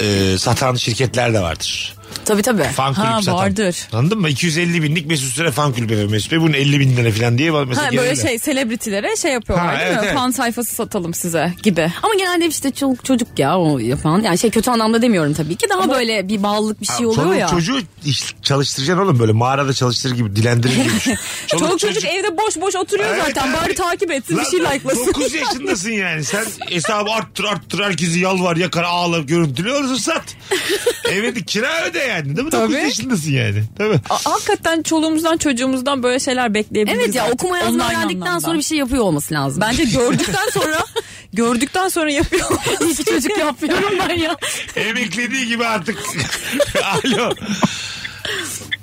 S3: e, satan şirketler de vardır.
S5: Tabii tabii.
S3: Fan kulüp
S4: Ha,
S3: satan.
S4: vardır.
S3: Anladın mı? 250 binlik Mesut Süre fan kulübü efendim Mesut Bey. Bunun 50 bin lira falan diye mesela
S4: Ha, böyle
S3: gelirler.
S4: şey selebritilere şey yapıyorlar
S3: Ha,
S4: değil
S3: evet,
S4: mi?
S3: evet.
S4: Fan sayfası satalım size gibi.
S5: Ama genelde işte çoluk çocuk ya o yapan. Yani şey kötü anlamda demiyorum tabii ki. Daha böyle bir bağlılık bir şey oluyor
S3: Çoluk
S5: ya.
S3: çocuğu iş- çalıştıracaksın oğlum böyle mağarada çalıştırır gibi dilendirir gibi. düşün.
S4: Çoluk, çocuk, evde boş boş oturuyor
S3: Evet,
S4: zaten.
S3: evet.
S4: Bari takip etsin bir şey like'lasın.
S3: 9 yaşındasın yani. Sen hesabı arttır arttır herkesi yalvar yakar ağla görüntülüyorsun sat. Evet kira öde yani değil mi? 9
S4: Tabii.
S3: yaşındasın yani. Tabii.
S4: A- hakikaten çoluğumuzdan çocuğumuzdan böyle şeyler bekleyebiliriz.
S5: Evet ya
S4: artık.
S5: okuma yazma
S4: Online
S5: öğrendikten
S4: anlamda.
S5: sonra bir şey yapıyor olması lazım.
S4: Bence gördükten sonra gördükten sonra yapıyor.
S5: İyi ki çocuk yapmıyorum ben ya.
S3: Emeklediği gibi artık. Alo.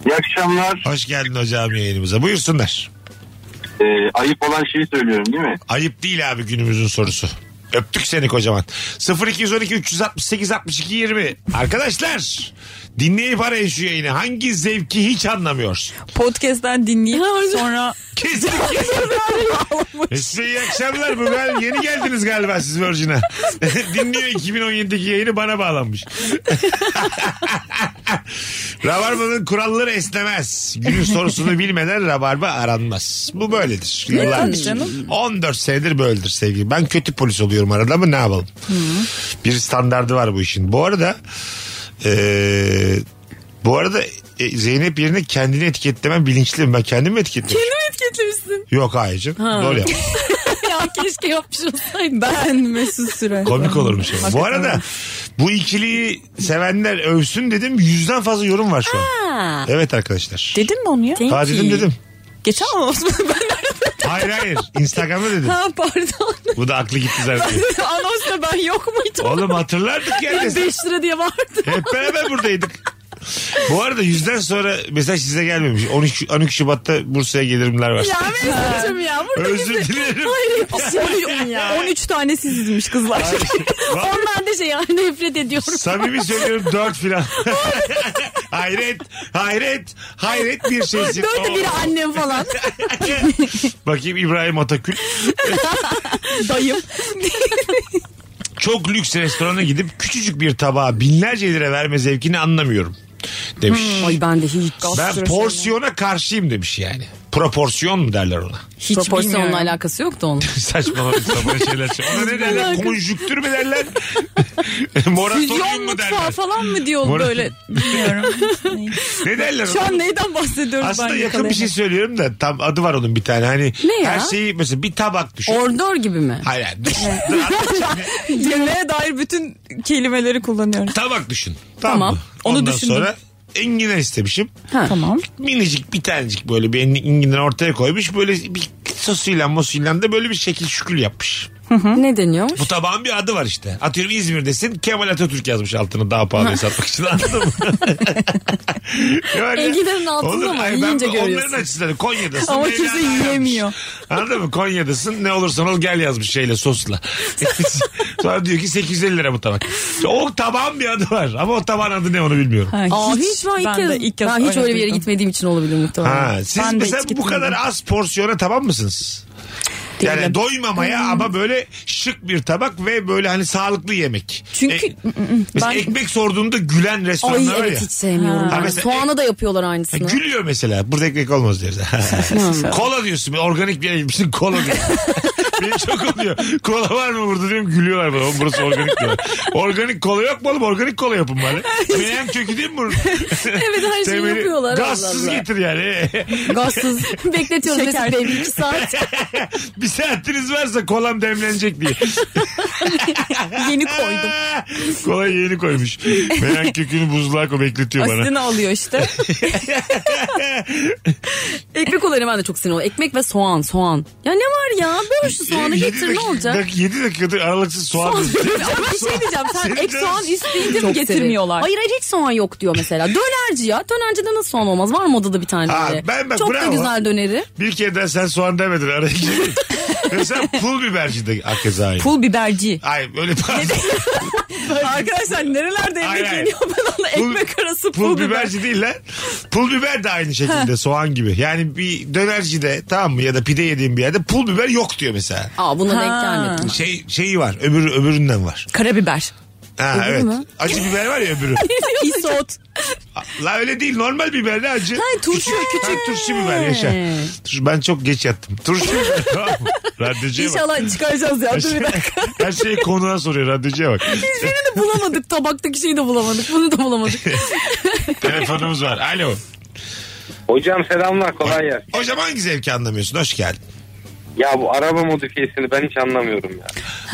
S8: İyi akşamlar.
S3: Hoş geldin hocam yayınımıza. Buyursunlar.
S8: ayıp olan şeyi söylüyorum değil mi?
S3: Ayıp değil abi günümüzün sorusu. Öptük seni kocaman. 0212 368 62 20. Arkadaşlar dinleyip arayın şu yayını. Hangi zevki hiç anlamıyor.
S4: Podcast'ten dinleyip sonra
S3: Kesinlikle. Size iyi akşamlar. Bu gal- yeni geldiniz galiba siz Virgin'e. Dinliyor 2017'deki yayını bana bağlanmış. Rabarba'nın kuralları esnemez. Günün sorusunu bilmeden Rabarba aranmaz. Bu böyledir.
S4: tabii canım.
S3: 14 senedir böyledir sevgili. Ben kötü polis oluyorum arada mı ne yapalım? Bir standardı var bu işin. Bu arada eee, bu arada e, Zeynep yerine kendini etiketlemem bilinçliyim. Ben kendimi etiketlemişim.
S5: Kendimi etiketlemişsin.
S3: Yok hayır. Doğru yapmış.
S5: ya keşke yapmış olsaydım.
S4: ben Mesut Süre.
S3: Komik olurmuş. yani. Bu arada bu ikiliyi sevenler övsün dedim. Yüzden fazla yorum var şu an. Evet arkadaşlar.
S4: Dedin mi onu ya?
S3: Ha dedim dedim.
S4: Geçen mi olsun?
S3: Hayır hayır. Instagram'da dedim.
S4: ha pardon.
S3: Bu da aklı gitti zaten.
S4: Anonsta ben yok muydum?
S3: Oğlum hatırlardık ya. biz.
S5: 5 lira diye vardı.
S3: Hep beraber buradaydık. Bu arada yüzden sonra mesaj size gelmemiş. 13, 12 Şubat'ta Bursa'ya gelirimler var.
S5: ya Mesut'cum ya. Burada
S3: Özür
S5: bizi-
S3: dilerim.
S5: Hayır şey yapıştırıyorsun ya.
S4: 13 tane sizizmiş kızlar.
S3: Va-
S5: Ondan da şey yani nefret ediyorum.
S3: Samimi söylüyorum 4 filan. hayret, hayret, hayret bir şeysin.
S5: Dördü biri annem falan.
S3: Bakayım İbrahim Atakül.
S5: Dayım.
S3: çok lüks restorana gidip küçücük bir tabağa binlerce lira verme zevkini anlamıyorum demiş.
S5: Hmm. Ay ben de hiç.
S3: ben porsiyona karşıyım demiş yani. Proporsiyon mu derler ona?
S5: Hiç
S4: bilmiyorum.
S5: Proporsiyonla alakası yoktu onun.
S3: Saçmalama sapan şeyler. söylüyor. Ona ne derler?
S5: alakası-
S3: Konjüktür mü derler? Moratorium
S4: Füzyon
S3: mu
S4: mutfağı
S3: derler?
S4: falan mı diyor
S3: Morat-
S4: böyle? Bilmiyorum.
S3: Ne derler
S4: Şu
S3: ona?
S4: an neyden bahsediyoruz
S3: Aslında
S4: ben
S3: yakın bir şey söylüyorum da tam adı var onun bir tane. Hani
S5: Ne ya?
S3: her şeyi mesela bir tabak düşün.
S5: Ordor gibi mi?
S3: Hayır hayır, düşün. Anlatacağım ya.
S4: Yemeğe dair bütün kelimeleri kullanıyorum.
S3: tabak düşün.
S5: Tamam.
S3: mı?
S4: Onu
S3: Ondan
S4: düşündüm.
S3: sonra enginar istemişim.
S4: Tamam.
S3: minicik bir tanecik böyle bir elini inginden ortaya koymuş. Böyle bir sosuyla mosuyla da böyle bir şekil şükül yapmış.
S5: Ne deniyormuş?
S3: Bu tabağın bir adı var işte. Atıyorum İzmir'desin Kemal Atatürk yazmış altını daha pahalıya satmak için anladın mı? Öyle.
S5: Enginlerin altında
S3: Olur.
S5: mı?
S3: Ay, ben
S5: Yiyince görüyorsun.
S3: Onların açısından Konya'dasın.
S4: Ama
S3: Mevlana
S4: kimse
S3: yazmış.
S4: yiyemiyor.
S3: Anladın mı? Konya'dasın ne olursan ol gel yazmış şeyle sosla. Sonra diyor ki 850 lira bu tabak. O tabağın bir adı var ama o tabağın adı ne onu bilmiyorum.
S4: Ha,
S5: Aa, hiç, ben ilk kez,
S4: de ilk kez
S5: ben hiç öyle bir yere
S4: duydum.
S5: gitmediğim için olabilir muhtemelen.
S3: Ha, siz
S4: Ben de
S3: mesela
S4: hiç
S3: bu
S4: gitmedim.
S3: kadar az porsiyona tamam mısınız? Yani doymamaya
S5: Hmm.
S3: ama böyle şık bir tabak ve böyle hani sağlıklı yemek.
S4: Çünkü-
S3: E,
S5: Mm,
S3: mesela
S4: ben-
S3: ekmek sorduğunda gülen restoranlar
S5: Ay
S3: var ya.
S5: evet hiç sevmiyorum.
S3: Ha,
S5: ben.
S3: mesela- E,
S5: Soğana da yapıyorlar
S3: Ha,
S5: aynısını.
S3: Gülüyor mesela. Burada ekmek olmaz diyoruz. kola diyorsun. Organik bir yere gitmişsin kola diyorsun. Benim çok oluyor. Kola var mı burada diyorum gülüyorlar bana. Oğlum Burası organik diyorlar. Organik kola yok mu oğlum? Organik kola yapın bari. Menem kökü değil mi bunun?
S5: evet her şeyi
S3: Temeli-
S5: yapıyorlar. Allah
S3: Gazsız
S5: Allah.
S3: getir yani.
S5: Gazsız. Bekletiyoruz
S4: Şeker.
S5: Mesut Bey bir iki saat.
S3: bir saatiniz varsa kolam demlenecek diye.
S4: Yeni koydum.
S3: Kola yeni koymuş. Meğer kökünü buzluğa koy bekletiyor bana.
S4: Aslını alıyor işte.
S5: Ekmek olayına ben de çok sinir oluyorum. Ekmek ve soğan soğan. Ya ne var ya? Böl şu soğanı
S3: Yedi
S5: getir ne
S3: dakika-
S5: olacak?
S3: dak- Yedi dakikadır aralıksız soğan.
S5: Soğan.
S3: yiyor.
S5: Ama bir şey diyeceğim. Sen
S3: Senin
S5: ek
S3: canın-
S5: soğan isteyince mi
S4: Çok
S5: getirmiyorlar?
S4: severim.
S5: Hayır hayır hiç soğan yok diyor mesela. Dönerci ya. Dönercide nasıl soğan olmaz? Var mı odada bir tane?
S3: Ha,
S5: böyle?
S3: ben bak,
S5: Çok da
S3: bravo.
S5: güzel döneri.
S3: Bir kere daha sen soğan demedin araya girdin. Mesela pul biberci de hakeza aynı.
S4: Pul biberci.
S3: Ay böyle pardon.
S4: Arkadaşlar nerelerde
S3: Hayır,
S4: yemek
S3: hayır.
S4: yeniyor ben onunla ekmek arası pul, biber.
S3: biberci şey değil lan. Pul biber de aynı şekilde soğan gibi. Yani bir dönercide tamam mı ya da pide yediğim bir yerde pul biber yok diyor mesela.
S5: Aa buna denk
S4: Ha.
S5: gelmedim.
S3: Şey şeyi var. Öbür öbüründen var.
S4: Karabiber.
S3: Ha
S5: Öbürü
S3: evet.
S5: mü?
S3: Acı biber var ya öbürü.
S4: Isot.
S3: La öyle değil normal biber ne acı.
S4: Hayır, turşu, küçük.
S3: Ha, turşu biber yaşa. Turşu, ben çok geç yattım. Turşu biber tamam mı? Radyocuya bak.
S4: İnşallah çıkaracağız ya.
S3: Her,
S4: Dur
S3: şey,
S4: bir dakika.
S3: her şeyi konuğa soruyor radyocuya bak.
S5: Birini de bulamadık. Tabaktaki şeyi de bulamadık. Bunu da bulamadık.
S3: Telefonumuz var. Alo.
S6: Hocam selamlar kolay gelsin.
S3: Hocam hangi zevki anlamıyorsun? Hoş geldin.
S6: Ya bu araba modifiyesini ben hiç anlamıyorum ya.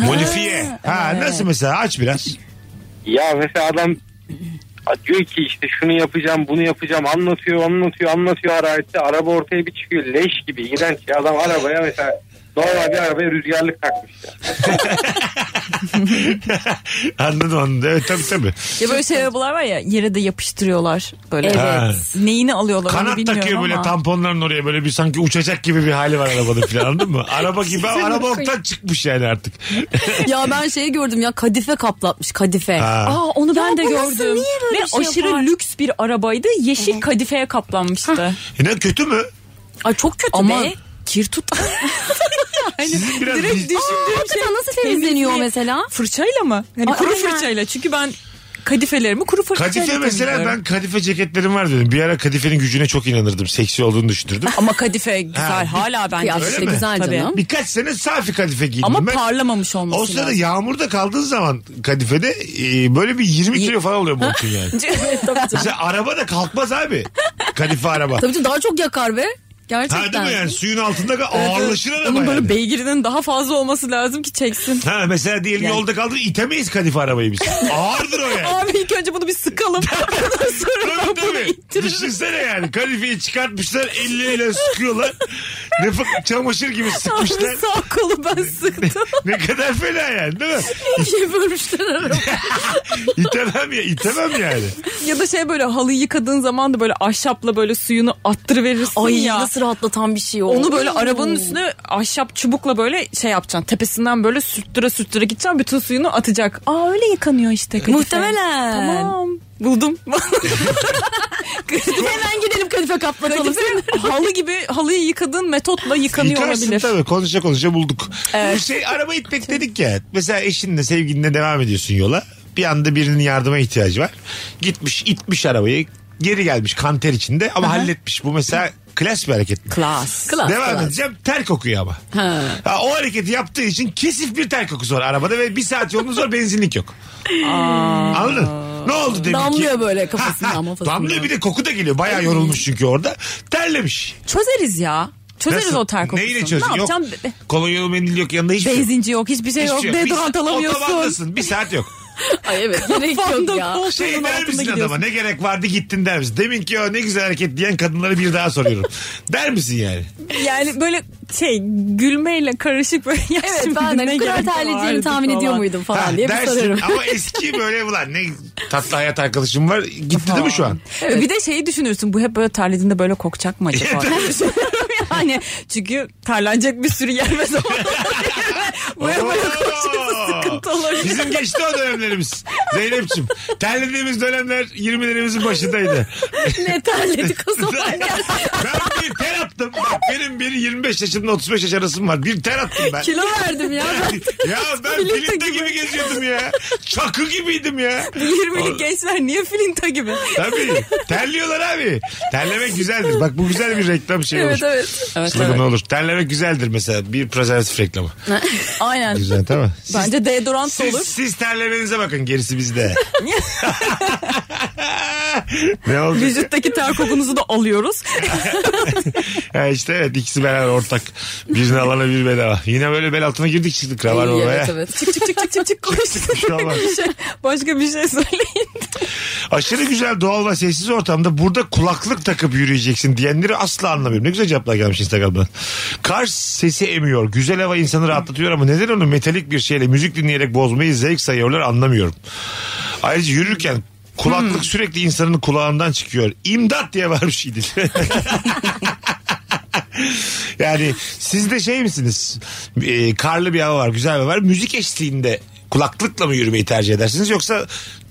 S3: Modifiye. Ha nasıl mesela aç biraz.
S6: Ya mesela adam diyor ki işte şunu yapacağım bunu yapacağım anlatıyor anlatıyor anlatıyor arayette araba ortaya bir çıkıyor leş gibi iğrenç ya adam arabaya mesela normal bir arabaya rüzgarlık takmış ya.
S3: Anladım onu. da. Evet tabii tabii.
S4: Ya böyle şey arabalar var ya yere de yapıştırıyorlar böyle.
S5: Evet.
S3: Ha.
S4: Neyini alıyorlar onu
S3: Kanat
S4: bilmiyorum
S3: takıyor böyle
S4: ama.
S3: tamponların oraya böyle bir sanki uçacak gibi bir hali var arabanın falan anladın mı? Araba gibi ama araba oktan çıkmış yani artık.
S5: ya ben şeyi gördüm ya kadife kaplatmış kadife.
S3: Ha.
S4: Aa onu ben de
S5: bu nasıl,
S4: gördüm.
S5: niye böyle
S4: Ve
S5: bir şey
S4: aşırı
S5: yapar?
S4: lüks bir arabaydı. Yeşil kadifeye kaplanmıştı.
S3: E ne kötü mü?
S5: Ay çok kötü
S4: Ama
S5: be.
S4: kir tut.
S3: Sizin biraz
S4: Direkt
S3: biz-
S4: düşündüğüm şey.
S5: Hakikaten nasıl temizleniyor
S4: temizliği-
S5: mesela?
S4: Fırçayla mı? Hani
S5: Aa,
S4: kuru
S5: aynen.
S4: fırçayla. Çünkü ben kadifelerimi kuru fırçayla
S3: Kadife mesela
S4: temizliyorum.
S3: ben kadife ceketlerim var dedim. Bir ara kadifenin gücüne çok inanırdım. Seksi olduğunu düşünürdüm.
S4: Ama kadife güzel.
S3: Ha, bir-
S4: Hala bence.
S5: Kıyafet de
S3: mi?
S5: güzel
S4: Tabii.
S5: canım.
S3: Birkaç sene safi kadife giydim
S4: Ama
S3: ben.
S4: parlamamış olması
S3: O
S4: lazım.
S3: sırada yağmurda kaldığın zaman kadifede e, böyle bir 20 kilo falan oluyor montun yani.
S5: Evet, tabii canım.
S3: Mesela araba da kalkmaz abi. Kadife araba.
S5: Tabii canım, daha çok yakar be.
S3: Ha
S5: Gerçekten.
S3: değil mi yani suyun altında ka- ağırlaşır araba
S4: Onun böyle
S3: yani.
S4: beygirinin daha fazla olması lazım ki çeksin.
S3: Ha mesela diyelim yolda kaldır itemeyiz kadife arabayı biz. Ağırdır o yani.
S4: Abi ilk önce bunu bir sıkalım. Ondan sonra
S3: Tabii
S4: ben bunu
S3: tabii.
S4: ittiririm.
S3: Düşünsene yani kadifeyi çıkartmışlar elleriyle sıkıyorlar. ne fık- çamaşır gibi sıkmışlar.
S4: Abi sağ kolu ben sıktım. Şey,
S3: ne kadar fena yani değil mi?
S5: İkiye bölmüşler arabayı.
S3: İtemem ya itemem yani.
S4: ya da şey böyle halıyı yıkadığın zaman da böyle ahşapla böyle suyunu attırıverirsin
S5: Ay
S4: ya.
S5: nasıl rahatlatan bir şey o.
S4: Onu böyle
S5: Oo.
S4: arabanın üstüne ahşap çubukla böyle şey yapacaksın. Tepesinden böyle sürttüre sürttüre gideceksin. Bütün suyunu atacak. Aa öyle yıkanıyor işte. kadife.
S5: Hmm. Muhtemelen.
S4: Tamam. Buldum.
S5: Hemen gidelim kadife kaplatalım.
S4: Kadife halı gibi halıyı yıkadığın metotla yıkanıyor
S3: Yıkarsın
S4: olabilir.
S3: tabii konuşa konuşa bulduk. Bir şey araba itmek dedik ya. Mesela eşinle sevgilinle devam ediyorsun yola. Bir anda birinin yardıma ihtiyacı var. Gitmiş itmiş arabayı. Geri gelmiş kanter içinde ama halletmiş. Bu mesela klas bir hareket mi?
S4: Klas.
S5: Klas,
S3: Devam
S5: klas.
S3: edeceğim. Ter kokuyor ama.
S5: Ha.
S3: Ha, o hareketi yaptığı için kesif bir ter kokusu var arabada ve bir saat yolunuz var benzinlik yok. Anladın? Ne oldu demin
S5: Damlıyor
S3: ki?
S5: böyle kafasından,
S3: Ha, ha.
S5: kafasından.
S3: Damlıyor bir de koku da geliyor. Bayağı yorulmuş çünkü orada. Terlemiş.
S4: Çözeriz ya. Çözeriz
S3: Nasıl?
S4: o ter kokusunu.
S3: Neyle çözün?
S4: Ne
S3: yok.
S4: yapacağım? Be-
S3: Kolonyalı mendil yok yanında hiçbir şey yok.
S4: Benzinci yok, hiçbir şey
S3: Hiçbir
S4: yok.
S3: şey Bir-
S4: Deodorant alamıyorsun.
S3: Otobandasın, Bir saat yok.
S5: Ay evet gerek yok
S4: Fanda
S5: ya.
S4: koltuğunun
S3: Şey der
S4: altında
S3: misin
S4: gidiyorsun.
S3: adama ne gerek vardı gittin der misin? Demin ki o ne güzel hareket diyen kadınları bir daha soruyorum. der misin yani?
S4: Yani böyle şey gülmeyle karışık böyle. Ya
S5: Evet
S4: şimdi
S5: ben de
S4: ne
S5: bu kadar
S4: gerek
S5: terleyeceğini
S4: vardı
S5: tahmin ediyor
S4: falan.
S5: muydum falan
S3: Ha,
S5: diye bir
S3: dersin.
S5: sorarım.
S3: Ama eski böyle ulan ne tatlı hayat arkadaşım var. Gitti değil mi şu an?
S4: Evet. Bir de şeyi düşünürsün bu hep böyle terlediğinde böyle kokacak mı acaba? yani çünkü terlenecek bir sürü yer ve zaman olabilir. bu hep böyle kokacak sıkıntı olabilir.
S3: Bizim geçti o dönemlerimiz. Zeynep'ciğim. Terlediğimiz dönemler 20'lerimizin başındaydı.
S5: ne terledik o zaman.
S3: ben bir ter attım. Bak Benim bir 25 yaşımda 35 yaş arasım var. Bir ter attım ben.
S5: Kilo verdim ya. Ben.
S3: ya ben filmde gibi geziyordum ya. Çakı gibiydim ya.
S4: 20'li gençler niye filinta gibi?
S3: Tabii. Terliyorlar abi. Terlemek güzeldir. Bak bu güzel bir reklam şeyi
S5: Evet
S3: olur.
S5: evet.
S4: Evet,
S3: Slogan olur. Terlemek güzeldir mesela. Bir prezervatif reklamı.
S4: Aynen.
S3: Güzel tamam. Siz,
S4: Bence deodorant da
S3: siz,
S4: olur.
S3: siz terlemenize bakın gerisi bizde. ne oldu?
S4: Vücuttaki ter kokunuzu da alıyoruz.
S3: Ha işte evet ikisi beraber ortak. Birini alana bir bedava. Yine böyle bel altına girdik çıktık. Ravar
S5: İyi,
S3: babaya.
S5: evet evet.
S4: çık çık çık çık çık çık koş.
S3: şey olmaz.
S4: Bir şey- başka bir şey söyleyin.
S3: Aşırı güzel doğal ve sessiz ortamda burada kulaklık takıp yürüyeceksin diyenleri asla anlamıyorum. Ne güzel cevaplar gelmiş Instagram'dan. Kar sesi emiyor. Güzel hava insanı rahatlatıyor ama neden onu metalik bir şeyle müzik dinleyerek bozmayı zevk sayıyorlar anlamıyorum. Ayrıca yürürken kulaklık
S5: Hmm.
S3: sürekli insanın kulağından çıkıyor. İmdat diye şey varmış İdil. yani siz de şey misiniz? Ee, karlı bir hava var, güzel bir hava var. Müzik eşliğinde kulaklıkla mı yürümeyi tercih edersiniz yoksa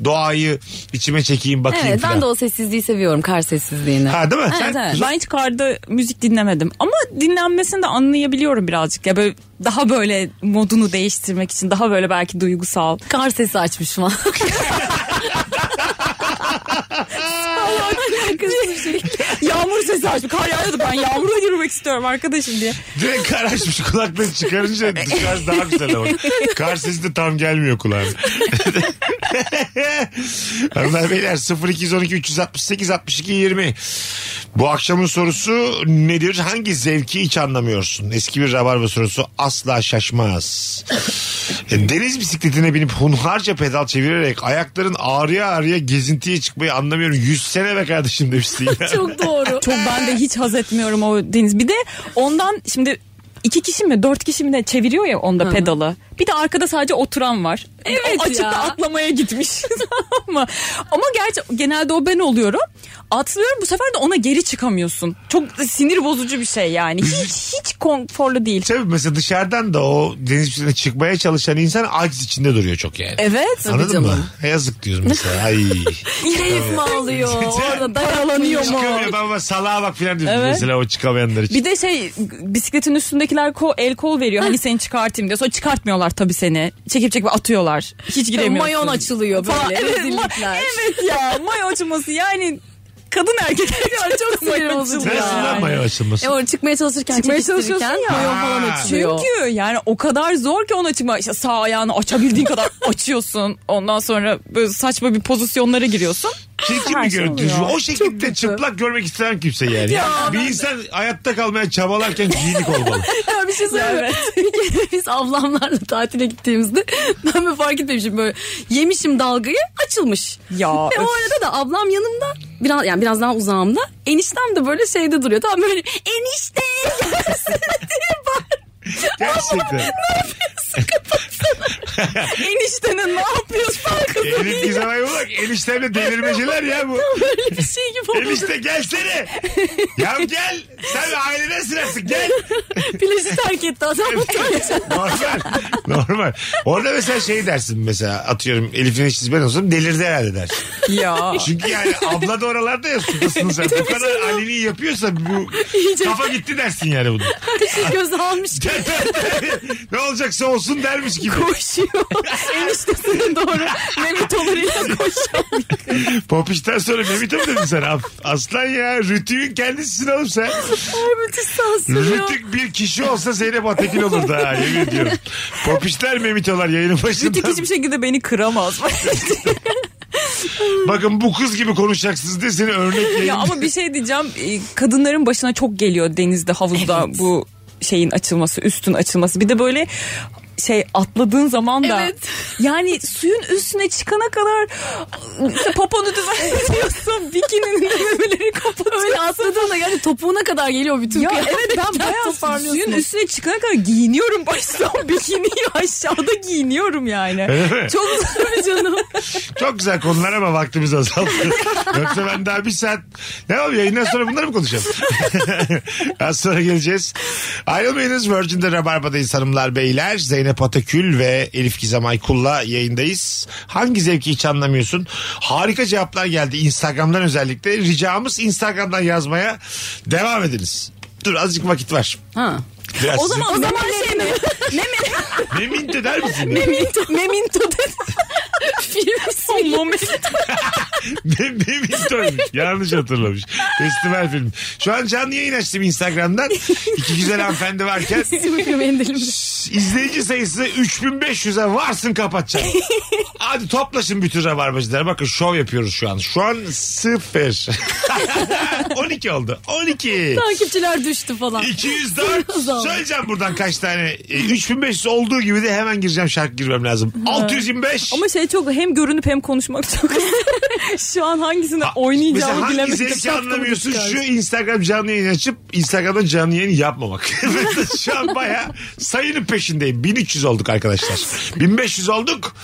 S3: doğayı içime çekeyim bakayım
S5: Evet
S3: falan.
S5: ben de o sessizliği seviyorum kar sessizliğini.
S3: Ha değil mi?
S5: Evet,
S3: Sen-
S5: evet.
S4: Ben hiç karda müzik dinlemedim. Ama dinlenmesini de anlayabiliyorum birazcık. Ya böyle daha böyle modunu değiştirmek için daha böyle belki duygusal.
S5: Kar sesi açmış falan. şey.
S4: Yağmur sesi açmış. Kar yağıyordu ben yağmurla yürümek istiyorum arkadaşım diye.
S3: Direkt kar açmış kulaklığı çıkarınca dışarısı daha güzel ama. Kar sesi de tam gelmiyor kulağına. Hanımlar beyler 0212 368 62 20. Bu akşamın sorusu nedir? Hangi zevki hiç anlamıyorsun? Eski bir rabarba sorusu asla şaşmaz. E, Deniz bisikletine binip hunharca pedal çevirerek ayakların ağrıya ağrıya gezintiye çıkmayı anlamıyorum. 100 sene be kardeşim demişti.
S5: Çok doğru.
S4: Çok ben de hiç haz etmiyorum o deniz. Bir de ondan şimdi iki kişi mi dört kişi mi ne çeviriyor ya onda pedalı. Bir de arkada sadece oturan var.
S5: Evet
S4: o açıkta
S5: ya.
S4: atlamaya gitmiş. ama ama gerçi genelde o ben oluyorum. Atlıyorum bu sefer de ona geri çıkamıyorsun. Çok sinir bozucu bir şey yani. Hiç hiç konforlu değil.
S3: Tabii mesela dışarıdan da o deniz piscine çıkmaya çalışan insan aciz içinde duruyor çok yani.
S4: Evet.
S3: Anladın
S5: canım.
S3: mı? Yazık diyoruz mesela. Ay.
S5: Keyif mi alıyor? Orada dayalanıyor mu?
S3: Çıkamıyor baba salağa bak filan diyorsun
S4: Evet.
S3: mesela o çıkamayanlar için.
S4: Bir de şey bisikletin üstündekiler ko, el kol veriyor. Hani seni çıkartayım diye. Sonra çıkartmıyorlar tabii seni. Çekip çekip atıyorlar. Hiç giremiyorsun.
S5: Mayon açılıyor
S4: Falan.
S5: böyle.
S4: Evet,
S5: rezillikler.
S4: ma- evet ya mayo açılması yani kadın erkek
S5: çok sinir
S4: mayo
S5: bozucu
S4: açılması.
S5: ya.
S3: Nasıl lan
S5: Yani.
S3: mayo açılması?
S5: E orada çıkmaya çalışırken
S4: Çıkmaya
S5: çıkmaya
S4: çalışıyorsun ya.
S5: mayon falan
S3: Ha.
S5: açıyor.
S4: Çünkü yani o kadar zor ki ona çıkma. İşte sağ ayağını açabildiğin kadar açıyorsun. Ondan sonra böyle saçma bir pozisyonlara giriyorsun.
S3: Çirkin bir görüntü. O şekilde çıplak görmek istemem kimse yani. bir insan hayatta kalmaya çabalarken giyinik olmalı.
S5: Ya bir şey söyleyeyim. mi? Bir kere biz avlamlarla tatile gittiğimizde ben böyle fark etmemişim böyle yemişim dalgayı açılmış.
S4: Ya
S5: Ve o arada da ablam yanımda biraz yani biraz daha uzağımda eniştem de böyle şeyde duruyor. Tam böyle enişte gelsene diye bağırıyor.
S3: Gerçekten.
S4: eniştenin ne yapıyorsun?
S3: Elif Gizem'e bak eniştemle delirmeceler ya bu.
S5: Böyle bir şey gibi oldu.
S3: Enişte gelsene. ya gel. Sen ailene sırası gel.
S5: Plajı terk etti adam.
S3: normal. Normal. Orada mesela şey dersin mesela atıyorum Elif'in eşsiz ben olsam delirdi herhalde dersin.
S4: ya.
S3: Çünkü yani abla da oralarda ya sudasın sen. Bu kadar aleni yapıyorsa bu kafa gitti dersin yani bunu.
S5: şey Göz almış gibi
S3: ne olacaksa olsun dermiş gibi.
S5: koşuyor.
S4: Eniştesine doğru Mehmet Olur'uyla koşuyor.
S3: Popiş'ten sonra Mehmet mi dedin sen? Af- Aslan ya Rütük'ün kendisisin oğlum sen.
S5: Müthiş sansürüyor.
S3: Rütük bir kişi olsa Zeynep Atekin olurdu ha yemin ediyorum. Popişler Memitolar yayının başında.
S4: Rütük hiçbir şekilde beni kıramaz.
S3: Bakın bu kız gibi konuşacaksınız diye seni örnek yayın.
S4: şey- ya ama bir şey diyeceğim. Ee, Kadınların başına çok geliyor denizde, havuzda bu şeyin açılması, üstün açılması. Bir de böyle şey atladığın zaman da
S5: Evet.
S4: yani suyun üstüne çıkana kadar işte poponu düzenliyorsun bikininin düğmeleri kapatıyorsun.
S5: Öyle atladığında yani topuğuna kadar geliyor bütün
S4: Ya
S5: kıyafet.
S4: evet ben bayağı
S5: toparlıyorsun.
S4: suyun üstüne çıkana kadar giyiniyorum baştan bikiniyi aşağıda giyiniyorum yani. Çok zor canım.
S3: Çok güzel konular ama vaktimiz azaldı. Yoksa ben daha bir saat... Ne yapayım yayından sonra bunları mı konuşacağım? Az sonra geleceğiz. Ayrılmayınız Virgin'de Rabarba'dayız hanımlar beyler. Zeynep Atakül ve Elif Gizem Aykul'la yayındayız. Hangi zevki hiç anlamıyorsun? Harika cevaplar geldi Instagram'dan özellikle. Ricamız Instagram'dan yazmaya devam ediniz. Dur azıcık vakit var.
S5: Ha.
S3: Biraz
S4: O zaman, o zaman şey mi?
S3: sizin- Memint eder misin?
S4: Memento. Memento dedi. Film Memento.
S3: Memitoymuş. Yanlış hatırlamış. Festival filmi. Şu an canlı yayın açtım Instagram'dan. İki güzel hanımefendi varken
S5: Sümüklü mendilimde.
S3: izleyici sayısı 3500'e varsın kapatacağım. Hadi toplaşın bütün rabarbacılar. Bakın şov yapıyoruz şu an. Şu an sıfır. 12 oldu. 12.
S5: Takipçiler düştü falan.
S3: 204. Söyleyeceğim buradan kaç tane. E, 3500 olduğu gibi de hemen gireceğim şarkı girmem lazım. 625.
S4: Ama şey çok hem görünüp hem konuşmak çok. Şu an hangisini
S3: Mesela
S4: oynayacağımı
S3: hangi
S4: bilemedim.
S3: zevki
S4: Şapkamı
S3: anlamıyorsun
S4: çıkardım.
S3: şu Instagram canlı yayın açıp Instagram'da canlı yayın yapmamak. Mesela şu an baya sayının peşindeyim. 1300 olduk arkadaşlar. 1500 olduk.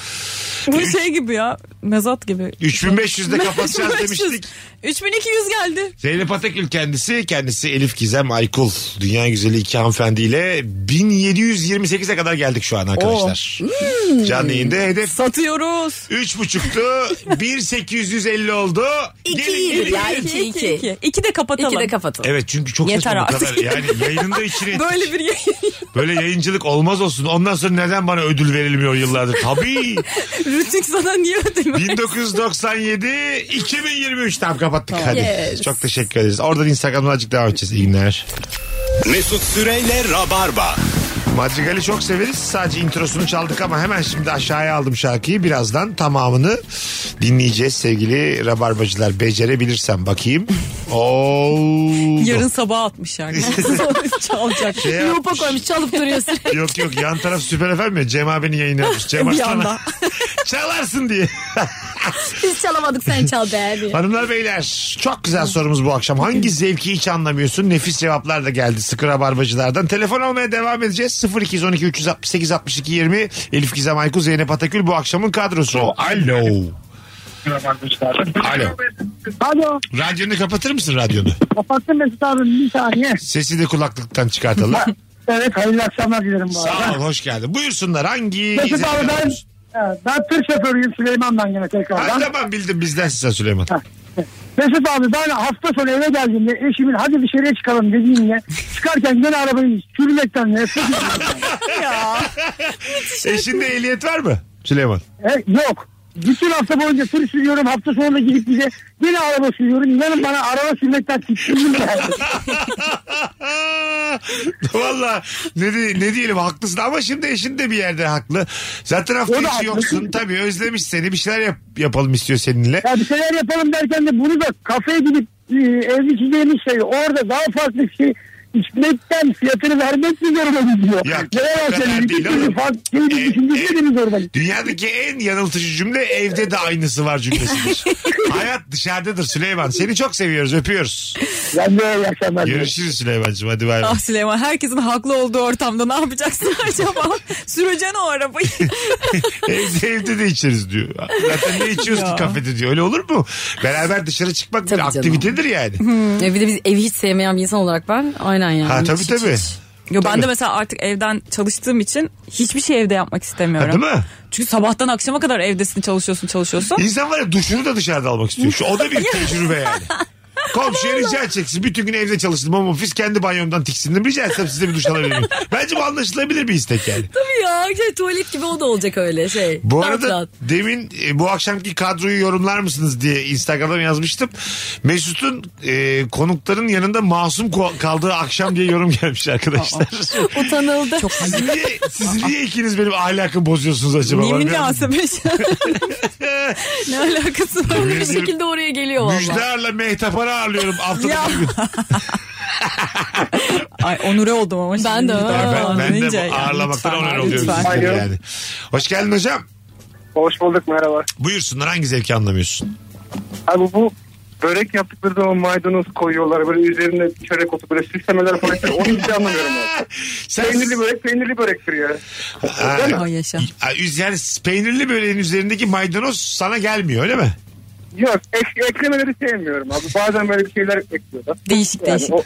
S4: Bu şey gibi ya. Mezat gibi.
S3: 3500'de kapatacağız
S4: 3500.
S3: demiştik.
S4: 3200 geldi.
S3: Zeynep Atakül kendisi, kendisi Elif Gizem Aykul. Dünya güzeli iki hanımefendiyle 1728'e kadar geldik şu an arkadaşlar.
S4: Oh.
S3: Hmm. Canlı
S4: Hmm.
S3: yayında hedef
S4: Satıyoruz.
S3: 3.5'tu. 1850 oldu. Gelin, gelin,
S5: ya,
S3: gelin.
S5: İki, iki.
S4: İki. İki de kapatalım.
S5: İki de kapatalım.
S3: Evet çünkü çok
S4: Yeter
S3: saçma bu
S4: artık.
S3: kadar. Yani yayınında içine ettik.
S4: Böyle bir yayın.
S3: Böyle yayıncılık olmaz olsun. Ondan sonra neden bana ödül verilmiyor yıllardır? Tabii.
S4: Rütük sana niye ödemiyor?
S3: 1997 2023 tam kapattık hadi.
S5: Yes.
S3: Çok teşekkür ederiz. Oradan Instagram'dan azıcık devam edeceğiz. İyi günler.
S2: Mesut Süreyle Rabarba.
S3: Madrigal'i çok severiz. Sadece introsunu çaldık ama hemen şimdi aşağıya aldım şarkıyı. Birazdan tamamını dinleyeceğiz sevgili rabarbacılar. Becerebilirsem bakayım. Oldu.
S4: Yarın sabah atmış yani. Çalacak.
S3: Şey yapmış.
S5: Lupa koymuş çalıp duruyorsun.
S3: Yok yok yan taraf süper efendim ya. Cem abinin yayını yapmış. Cem
S4: Bir
S3: Arslan'a.
S4: anda.
S3: Çalarsın diye.
S5: Biz çalamadık sen çal be abi.
S3: Hanımlar beyler çok güzel sorumuz bu akşam. Hangi zevki hiç anlamıyorsun? Nefis cevaplar da geldi sıkı rabarbacılardan. Telefon almaya devam edeceğiz. 0212 368 62 20 Elif Gizem Aykut Zeynep Atakül bu akşamın kadrosu. Alo. Alo.
S10: Alo
S3: Radyonu kapatır mısın radyonu?
S10: kapattım Mesut abi bir saniye.
S3: Sesi de kulaklıktan çıkartalım.
S10: Evet hayırlı akşamlar dilerim bu arada.
S3: Sağ ol hoş geldin. Buyursunlar hangi
S10: Mesut
S3: zevki
S10: abi ben,
S3: anlamıyorsun?
S10: evet, ben tır şoförüyüm Süleyman'dan yine
S3: Ha,
S10: tekrardan.
S3: tamam bildim bizden size Süleyman.
S10: Mesut abi ben hafta sonu eve geldiğimde eşimin hadi dışarıya çıkalım dediğimde çıkarken gene arabayı sürmekten nefret ediyorum.
S3: Eşinde ehliyet var mı Süleyman?
S10: E, yok. Bütün hafta boyunca tır sürüyorum. Hafta sonunda gidip bize yine araba sürüyorum. İnanın bana araba sürmekten tiksindim yani.
S3: Valla ne, di- ne diyelim haklısın ama şimdi eşin de bir yerde haklı. Zaten hafta
S10: O da
S3: içi
S10: haklı.
S3: yoksun tabii özlemiş seni bir şeyler yap- yapalım istiyor seninle.
S10: Ya bir şeyler yapalım derken de bunu da kafeye gidip e, evdeki yeni şey orada daha farklı bir şey içmekten fiyatını vermek mi zorundayız diyor.
S3: Ya,
S10: Neler
S3: o
S10: var
S3: kadar
S10: senin?
S3: değil
S10: İki türlü
S3: oğlum.
S10: farklı şey
S3: E,
S10: bir düşüncesi de mi zorundayız?
S3: Dünyadaki en yanıltıcı cümle evde de aynısı var cümlesidir. Hayat dışarıdadır Süleyman. Seni çok seviyoruz öpüyoruz.
S10: Ben de iyi akşamlar. dilerim.
S3: Görüşürüz Süleyman'cığım hadi bay bay.
S4: Ah Süleyman herkesin haklı olduğu ortamda ne yapacaksın acaba? Süreceksin o arabayı.
S3: evde, evde de içeriz diyor. Zaten ne içiyoruz ki
S4: Ya.
S3: kafede diyor. Öyle olur mu? Beraber dışarı çıkmak bir
S5: Tabii canım.
S3: aktivitedir yani.
S5: Ya bir de biz evi hiç sevmeyen bir insan olarak ben aynen yani.
S3: Ha, tabii,
S5: Hiç,
S3: tabii.
S5: hiç.
S4: Yo, ben
S3: Tabii.
S4: de mesela artık evden çalıştığım için hiçbir şey evde yapmak
S3: Ha,
S4: istemiyorum.
S3: değil mi?
S4: Çünkü sabahtan akşama kadar evdesin çalışıyorsun çalışıyorsun.
S3: İnsan var ya duşunu da dışarıda almak istiyor. Şu, o da bir tecrübe yani. Komşuya rica edeceksin. Bütün gün evde çalıştım ama ofis kendi banyomdan tiksindim. Rica etsem size bir duş alabilir miyim? Bence bu anlaşılabilir bir istek yani.
S5: Tabii ya şey, tuvalet gibi o da olacak öyle şey.
S3: Bu
S5: Rahat
S3: arada
S5: rahat.
S3: demin e, bu akşamki kadroyu yorumlar mısınız diye Instagram'dan yazmıştım. Mesut'un e, konukların yanında masum ko- kaldığı akşam diye yorum gelmiş arkadaşlar.
S5: Utanıldı. Çok
S4: hani,
S3: siz, niye, siz niye ikiniz benim ahlakımı bozuyorsunuz acaba?
S4: Niye
S3: Bana biraz-
S4: münasebet? ne alakası var?
S5: bir şekilde oraya geliyor valla.
S3: Müjdar'la Mehtap'ı ağırlıyorum haftada
S4: Ya.
S3: bir gün.
S4: Ay onure oldum ama şimdi.
S5: Ben de,
S4: bir
S5: ha.
S4: daha
S3: Ben,
S4: falan
S3: ben
S4: deyince
S3: de
S4: yani
S3: bu ağırlamaktan
S4: lütfen,
S3: onar oluyoruz.
S4: lütfen.
S3: biz de
S7: Alo.
S3: Yani. Hoş geldin hocam.
S7: Hoş bulduk merhaba.
S3: Buyursunlar hangi zevki anlamıyorsun?
S7: Abi bu börek yaptıkları zaman maydanoz koyuyorlar. Böyle üzerine çörek otu böyle süslemeler falan. Onu hiç anlamıyorum abi.
S3: Sen,
S7: Peynirli börek peynirli börektir ya.
S3: Ha,
S4: Ay yaşa.
S3: ha, üz- yani peynirli böreğin üzerindeki maydanoz sana gelmiyor öyle mi?
S7: Yok ek, eklemeleri sevmiyorum abi. Bazen böyle bir şeyler ekliyorlar.
S4: Değişik değişik.
S7: o-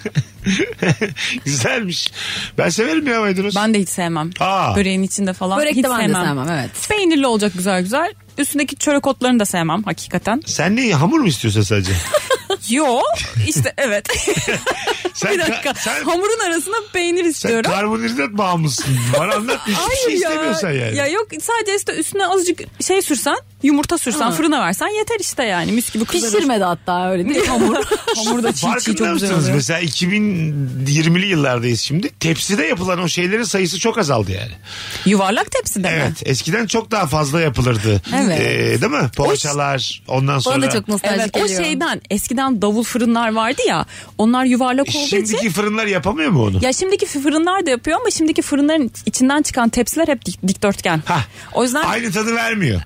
S3: Güzelmiş. Ben severim ya maydanoz.
S4: Ben de hiç sevmem.
S3: Aa.
S4: Böreğin içinde falan
S5: Börek
S4: hiç
S5: de ben de
S4: sevmem.
S5: sevmem evet.
S4: Peynirli olacak güzel güzel. Üstündeki çörek otlarını da sevmem hakikaten.
S3: Sen ne hamur mu istiyorsun sadece?
S4: Yo işte evet.
S3: Sen,
S4: bir dakika.
S3: ka- sen,
S4: Hamurun arasına peynir
S3: sen
S4: istiyorum.
S3: karbonhidrat bağımlısın. Bana anlat. Hiçbir şey istemiyorsan yani.
S4: Ya yok sadece işte üstüne azıcık şey sürsen, yumurta sürsen,
S5: Ha.
S4: fırına versen yeter işte yani. Mis gibi kızarır.
S5: Pişirmedi hatta öyle değil mi? Hamur.
S4: Hamur da çiğ çiğ
S3: Farkında
S4: çok güzel
S3: mısınız
S4: oluyor.
S3: mesela 2020'li yıllardayız şimdi. Tepside yapılan o şeylerin sayısı çok azaldı yani.
S4: Yuvarlak tepside mi?
S3: Evet eskiden çok daha fazla yapılırdı.
S5: Evet.
S3: Ee, değil mi? Poğaçalar ondan sonra.
S5: Bana da çok nostaljik
S4: Evet o
S5: geliyor.
S4: şeyden eskiden davul fırınlar vardı ya onlar yuvarlak olduğu için
S3: Şimdiki fırınlar yapamıyor mu onu?
S4: ya şimdiki fırınlar da yapıyor ama şimdiki fırınların içinden çıkan tepsiler hep dik- dikdörtgen.
S3: Hah.
S4: O yüzden
S3: Aynı tadı vermiyor.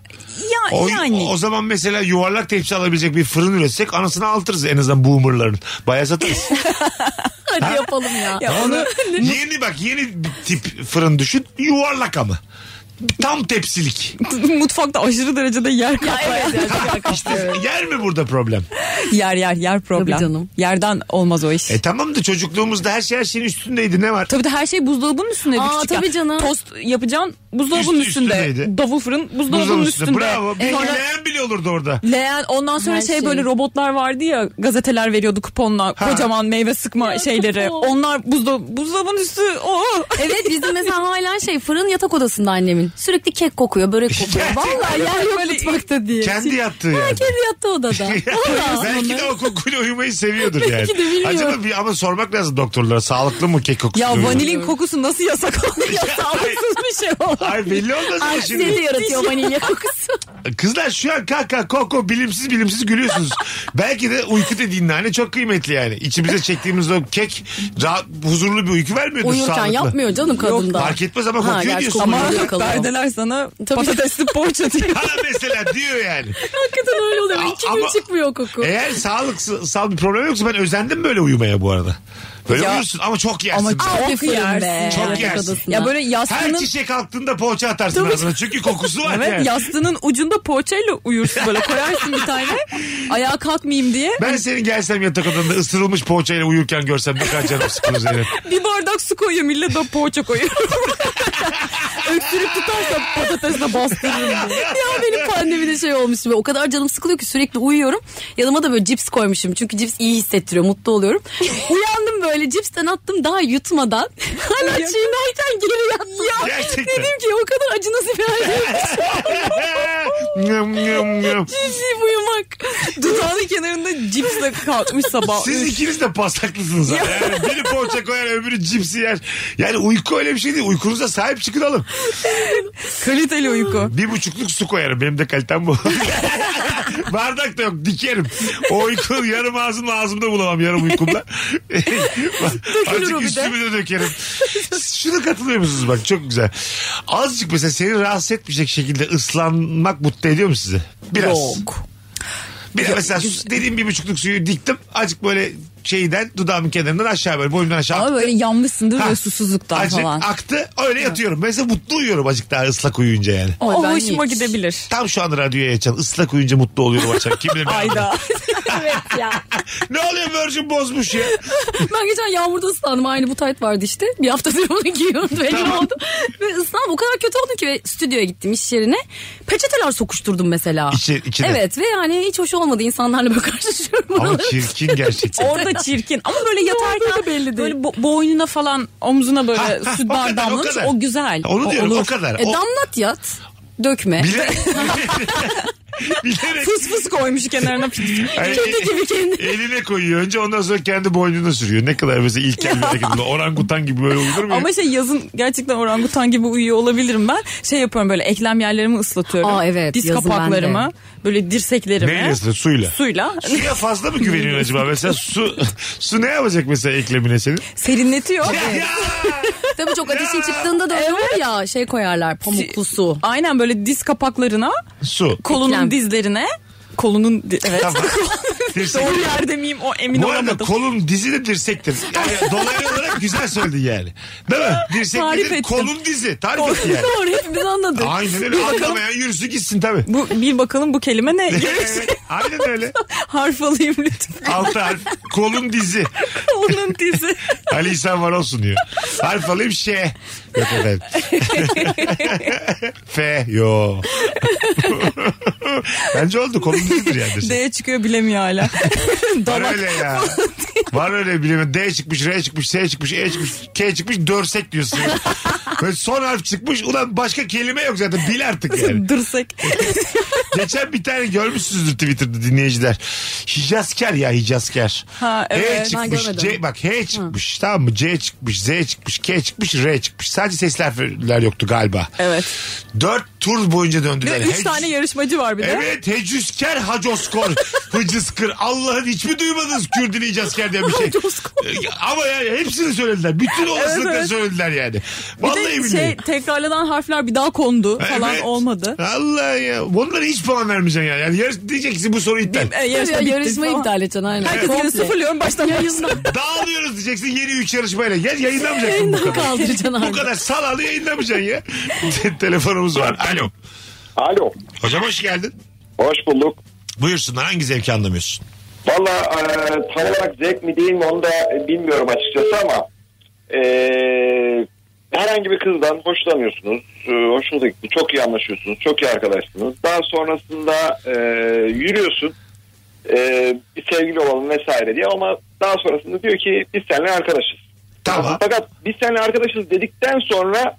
S4: ya,
S3: O,
S4: yani
S3: o zaman mesela yuvarlak tepsi alabilecek bir fırın üretsek anasını altırız en azından boomerların. Bayağı satarız.
S5: Hadi yapalım ya.
S4: şey ya onu
S3: yeni bak yeni bir tip fırın düşün yuvarlak ama. Tam tepsilik.
S4: mutfakta aşırı derecede yer kaplayan
S3: İşte yer mi burada problem?
S4: yer yer yer problem.
S5: Tabii canım.
S4: Yerden olmaz o iş.
S3: E tamam da çocukluğumuzda her şey her şeyin üstündeydi ne var?
S4: Tabii de her şey buzdolabının üstündeydi.
S5: Aa,
S4: küçükken.
S5: tabii canım.
S4: Tost yapacaksın buzdolabının
S3: Üstü-
S4: üstünde.
S3: üstündeydi.
S4: Davul fırın buzdolabının
S3: Buzdolabının üstünde.
S4: üstünde.
S3: Bravo.
S5: E,
S3: Bir
S4: Sonra-
S3: leğen bile olurdu orada.
S4: Leğen ondan sonra
S5: Her
S4: şey,
S5: şey.
S4: böyle robotlar vardı ya gazeteler veriyordu kuponla kocaman meyve sıkma şeyleri.
S5: kupon.
S4: Onlar buzda buzdolabının üstü o.
S5: Evet bizim mesela hala şey fırın yatak odasında annemin. Sürekli kek kokuyor, börek kokuyor. Vallahi yer yok mutfakta diye.
S3: Kendi yattığı yani.
S5: Kendi yattı odada. Vallahi.
S3: Belki de o kokuyla uyumayı seviyordur yani.
S5: Belki de bilmiyorum.
S3: Acaba bir ama sormak lazım doktorlara sağlıklı mı kek kokusu?
S4: Ya
S3: uyumak?
S4: vanilin kokusu nasıl yasak oluyor? Sağlıksız bir şey oldu.
S3: Ay belli olmaz ama
S5: Aksine de
S3: şimdi.
S5: yaratıyor vanilya kokusu.
S3: Kızlar şu an kah kah koko bilimsiz bilimsiz gülüyorsunuz. Belki de uyku dediğin nane çok kıymetli yani. İçimize çektiğimiz o kek rahat, huzurlu bir uyku vermiyordur
S5: Uyurken
S3: sağlıklı.
S5: yapmıyor canım kadında.
S3: Fark etmez ama kokuyor
S5: gerçi
S3: diyorsun.
S5: kokuyor.
S3: Ama-
S5: Yakalıyor.
S4: Perdeler sana
S5: Tabii.
S4: patatesli poğaça diye.
S3: Ha mesela diyor yani.
S5: Hakikaten öyle oluyor. İki
S3: Ama-
S5: gün çıkmıyor o koku.
S3: Eğer sağlıksal bir problem yoksa ben özendim böyle uyumaya bu arada. Böyle
S4: Ya-
S3: uyursun ama çok yersin.
S4: Ama çok
S5: Al küfürüm
S4: yersin.
S5: be.
S3: Çok
S5: Yatak
S3: yersin.
S5: odasına.
S4: Ya böyle
S3: Her
S4: yastığının
S3: çiçek kalktığında poğaça atarsın
S4: Tabii.
S3: ağzına. Çünkü kokusu var
S4: Evet
S3: yani.
S4: yastığının ucunda poğaçayla uyursun böyle koyarsın bir tane ayağa kalkmayayım diye.
S3: Ben senin gelsem yatak odanda ısırılmış poğaçayla uyurken görsem ne kadar canım sıkılır Zeynep.
S4: Bir bardak su koyuyor millet de poğaça koyuyor.
S5: Öksürük tutarsa patatesle bastırırım diye. ya benim pandemide şey olmuştu. Böyle O kadar canım sıkılıyor ki sürekli uyuyorum. Yanıma da böyle cips koymuşum. Çünkü cips iyi hissettiriyor. Mutlu oluyorum. Uyandım böyle cipsten attım daha yutmadan. Hala çiğnerken geri yattım. Ya,
S3: Gerçekten.
S5: dedim ki o kadar acı nasıl bir hayat.
S3: Ee, Nyam, nyam, nyam.
S5: Cipsle uyumak.
S4: Dudağının kenarında cipsle kalkmış sabah.
S3: Siz ikiniz de pasaklısınız. ha. Yani biri poğaça koyar öbürü cipsi yer. Yani uyku öyle bir şey değil. Uykunuza sahip çıkın alın.
S4: Kaliteli uyku.
S3: Bir buçukluk su koyarım. Benim de kalitem bu. Bardak da yok dikerim. O uyku yarım ağzımla ağzımda bulamam yarım uykumda.
S5: bir
S3: Azıcık
S5: de.
S3: üstümü de dökerim. Şunu katılıyor musunuz bak çok güzel. Azıcık mesela seni rahatsız etmeyecek şekilde ıslanmak mutlu ediyor mu sizi? Biraz.
S4: Yok.
S3: Bir de mesela dediğim bir buçukluk suyu diktim. Azıcık böyle şeyden dudağımın kenarından aşağı böyle boynumdan aşağı.
S4: Ama böyle yanmışsındır
S3: Ha.
S4: ve susuzluktan
S3: Azıcık
S4: falan.
S3: aktı öyle yatıyorum. Mesela mutlu uyuyorum azıcık daha ıslak uyuyunca yani.
S4: O,
S5: ben
S4: hoşuma
S5: hiç.
S4: gidebilir.
S3: Tam şu an radyoya açan ıslak uyuyunca mutlu oluyorum açan. Kim bilir ne
S4: Ayda.
S5: evet ya.
S3: Ne oluyor Virgin bozmuş ya.
S5: Ben geçen yağmurda ıslandım. Aynı bu tayt vardı işte. Bir haftadır onu giyiyorum. Belli oldu. Ve ıslandım. O kadar kötü oldum ki ve stüdyoya gittim iş yerine. Peçeteler sokuşturdum mesela.
S3: İçi- içine.
S5: Evet ve yani hiç hoş olmadı. insanlarla böyle karşılaşıyorum.
S3: Ama
S5: Oraları-
S3: çirkin gerçekten.
S4: Orada çirkin. Ama böyle
S5: Ne olduğu da
S4: yatarken
S5: belli değil.
S4: böyle bo- boynuna falan omzuna böyle
S3: Ha, ha,
S4: süt
S3: o kadar, o
S4: bardağı damlamış.
S3: kadar.
S4: O güzel.
S3: Onu
S4: O
S3: diyorum
S4: olur.
S3: o kadar.
S5: E,
S3: O-
S5: damlat yat. Dökme.
S3: bilerek, bilerek
S4: Fıs fıs koymuş kenarına.
S3: Ay,
S5: Kedi gibi kendi.
S3: eline koyuyor önce ondan sonra kendi boynuna sürüyor. Ne kadar mesela ilkel bir hareket. bu. Orangutan gibi böyle uyulur mu? ya?
S4: Ama şey yazın gerçekten orangutan gibi uyuyor olabilirim ben. Şey yapıyorum böyle eklem yerlerimi ıslatıyorum.
S5: Aa, evet,
S4: Diz
S5: yazın ben de.
S4: kapaklarımı. Böyle dirseklerimi.
S3: Neyle ısıtıyor? Suyla.
S4: Suyla.
S3: Suya fazla mı güveniyorsun acaba? Mesela su su ne yapacak mesela eklemine senin?
S4: Serinletiyor.
S3: Ya!
S5: Tabii çok ateşin çıktığında da öyle olur ya. Şey koyarlar pamuklu su.
S4: Aynen böyle diz kapaklarına,
S3: Su.
S4: kolunun
S5: Eklem.
S4: dizlerine, kolunun di- evet.
S3: Tamam. Dirsek.
S4: Doğru yerde miyim o emin
S3: Bu arada
S4: olamadım.
S3: kolun dizi de dirsektir. Yani dolaylı olarak güzel söyledin yani. Değil mi? Dirsek
S4: Tarif
S3: nedir?
S4: ettim.
S3: Kolun dizi. Tarif et yani.
S5: Doğru hepimiz anladık.
S3: Aynen öyle. Anlamayan yürüsü gitsin tabii.
S4: bu bir bakalım bu kelime ne?
S3: Evet, Aynen öyle.
S4: Harf alayım lütfen.
S3: Altı harf. Kolun dizi.
S4: Onun dizi.
S3: Ali İhsan var olsun diyor. Harf alayım şey. Yok efendim. F. Yo. Bence oldu. Kolun dizidir yani. dirsek.
S4: D'ye çıkıyor bilemiyor hala.
S3: Var
S4: Dalak.
S3: öyle ya. Var öyle bilemem. D çıkmış, R çıkmış, S çıkmış, E çıkmış, K çıkmış, dörsek diyorsun. Böyle son harf çıkmış. Ulan başka kelime yok zaten. Bil artık yani.
S4: Dırsek.
S3: Geçen bir tane görmüşsünüzdür Twitter'da dinleyiciler. Hicazkar ya Hicazkar.
S4: Ha, evet,
S3: H
S5: ben
S3: çıkmış.
S5: görmedim.
S3: C, bak H çıkmış. Tamam mı? C çıkmış. Z çıkmış. K çıkmış. R çıkmış. Sadece sesli harfler yoktu galiba.
S4: Evet.
S3: Dört tur boyunca döndüler.
S4: Ve üç
S3: Hec-
S4: tane yarışmacı var bir de.
S3: Evet hecüzker hacoskor hıcızkır. Allah'ın hiç mi duymadınız Kürdün hicazker diye bir şey? Ee, Ama yani hepsini söylediler. Bütün olasılıkları
S4: evet.
S3: söylediler yani.
S4: Bir
S3: Vallahi
S4: de
S3: billahi.
S4: şey, tekrarlanan harfler bir daha kondu falan
S3: Evet.
S4: olmadı.
S3: Allah ya. Bunlara hiç puan vermeyeceksin yani. yani yarış, diyeceksin bu soru iptal.
S4: E, yarışma
S5: Ya,
S4: bitti
S5: yarışmayı
S4: falan.
S5: iptal edeceksin aynen.
S4: Herkes yine sıfırlıyorum baştan başlasın.
S3: Dağılıyoruz diyeceksin yeni 3 yarışmayla. Gel yayınlamayacaksın bu kadar.
S5: Kaldıracaksın
S3: Bu
S5: artık.
S3: kadar salalı yayınlamayacaksın ya. Te- Telefonumuz var. Alo.
S8: Alo.
S3: Hocam hoş geldin.
S8: Hoş bulduk.
S3: Buyursunlar hangi zevki anlamıyorsun?
S8: Valla e, tam olarak zevk mi değil mi onu da e, bilmiyorum açıkçası ama e, herhangi bir kızdan hoşlanıyorsunuz. E, hoşunuza gitti. Çok iyi anlaşıyorsunuz. Çok iyi arkadaşsınız. Daha sonrasında e, yürüyorsun. E, bir sevgili olalım vesaire diye ama daha sonrasında diyor ki biz seninle arkadaşız.
S3: Tamam.
S8: Fakat biz seninle arkadaşız dedikten sonra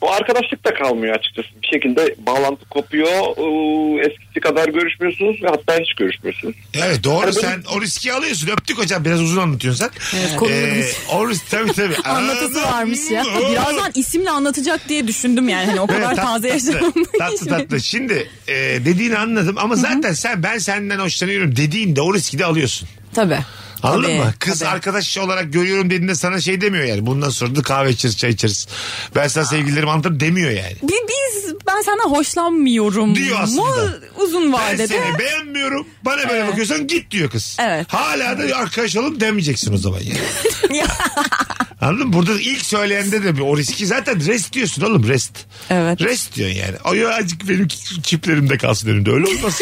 S8: o arkadaşlık da kalmıyor açıkçası. Bir şekilde bağlantı kopuyor. Ee, Eskisi kadar görüşmüyorsunuz ve hatta hiç görüşmüyorsunuz.
S3: Evet doğru
S8: Hani
S3: sen o riski alıyorsun. Öptük hocam biraz uzun anlatıyorsun sen. Ee,
S5: Evet, konuyu biz-
S3: o risk tabii tabii.
S5: Anlatısı varmış ya.
S3: Anladım.
S4: Birazdan isimle anlatacak diye düşündüm yani. Hani o
S3: Evet,
S4: kadar
S3: tat-
S4: taze
S3: tatlı,
S4: yaşamam.
S3: Tatlı tatlı. Şimdi e, dediğini anladım ama zaten sen ben senden hoşlanıyorum dediğinde o riski de alıyorsun.
S5: Tabii.
S3: Anladın
S5: Tabii,
S3: mı? Kız
S5: tabii.
S3: arkadaş olarak görüyorum dediğinde sana şey demiyor yani. Bundan sonra da kahve içeriz çay içeriz. Ben sana sevgililerimi anlatırım demiyor yani.
S4: Bi- Biz ben sana hoşlanmıyorum.
S3: Diyor aslında.
S4: Mu uzun
S3: Ben
S4: vadede.
S3: seni beğenmiyorum. Bana böyle bakıyorsan git diyor kız.
S4: Evet.
S3: Hala da arkadaş olalım demeyeceksin o zaman yani. Anladın mı? Burada ilk söyleyende de bir o riski zaten rest diyorsun oğlum rest.
S4: Evet.
S3: Rest diyorsun yani. Ay azıcık benim çiplerimde kalsın önümde öyle olmaz.